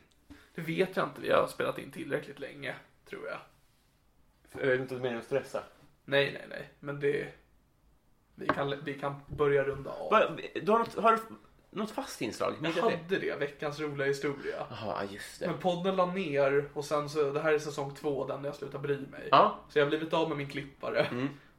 Det vet jag inte, vi har spelat in tillräckligt länge, tror jag.
Jag
eh,
vet inte meningen att stressa.
Nej, nej, nej. Men det... Vi kan, vi kan börja runda av.
Du har, något, har du något fast inslag? Minns
Jag
jag det?
hade det, veckans roliga historia.
Jaha, just det.
Men podden la ner och sen så, det här är säsong två, den där jag slutar bry mig.
Ja. Mm.
Så jag har blivit av med min klippare.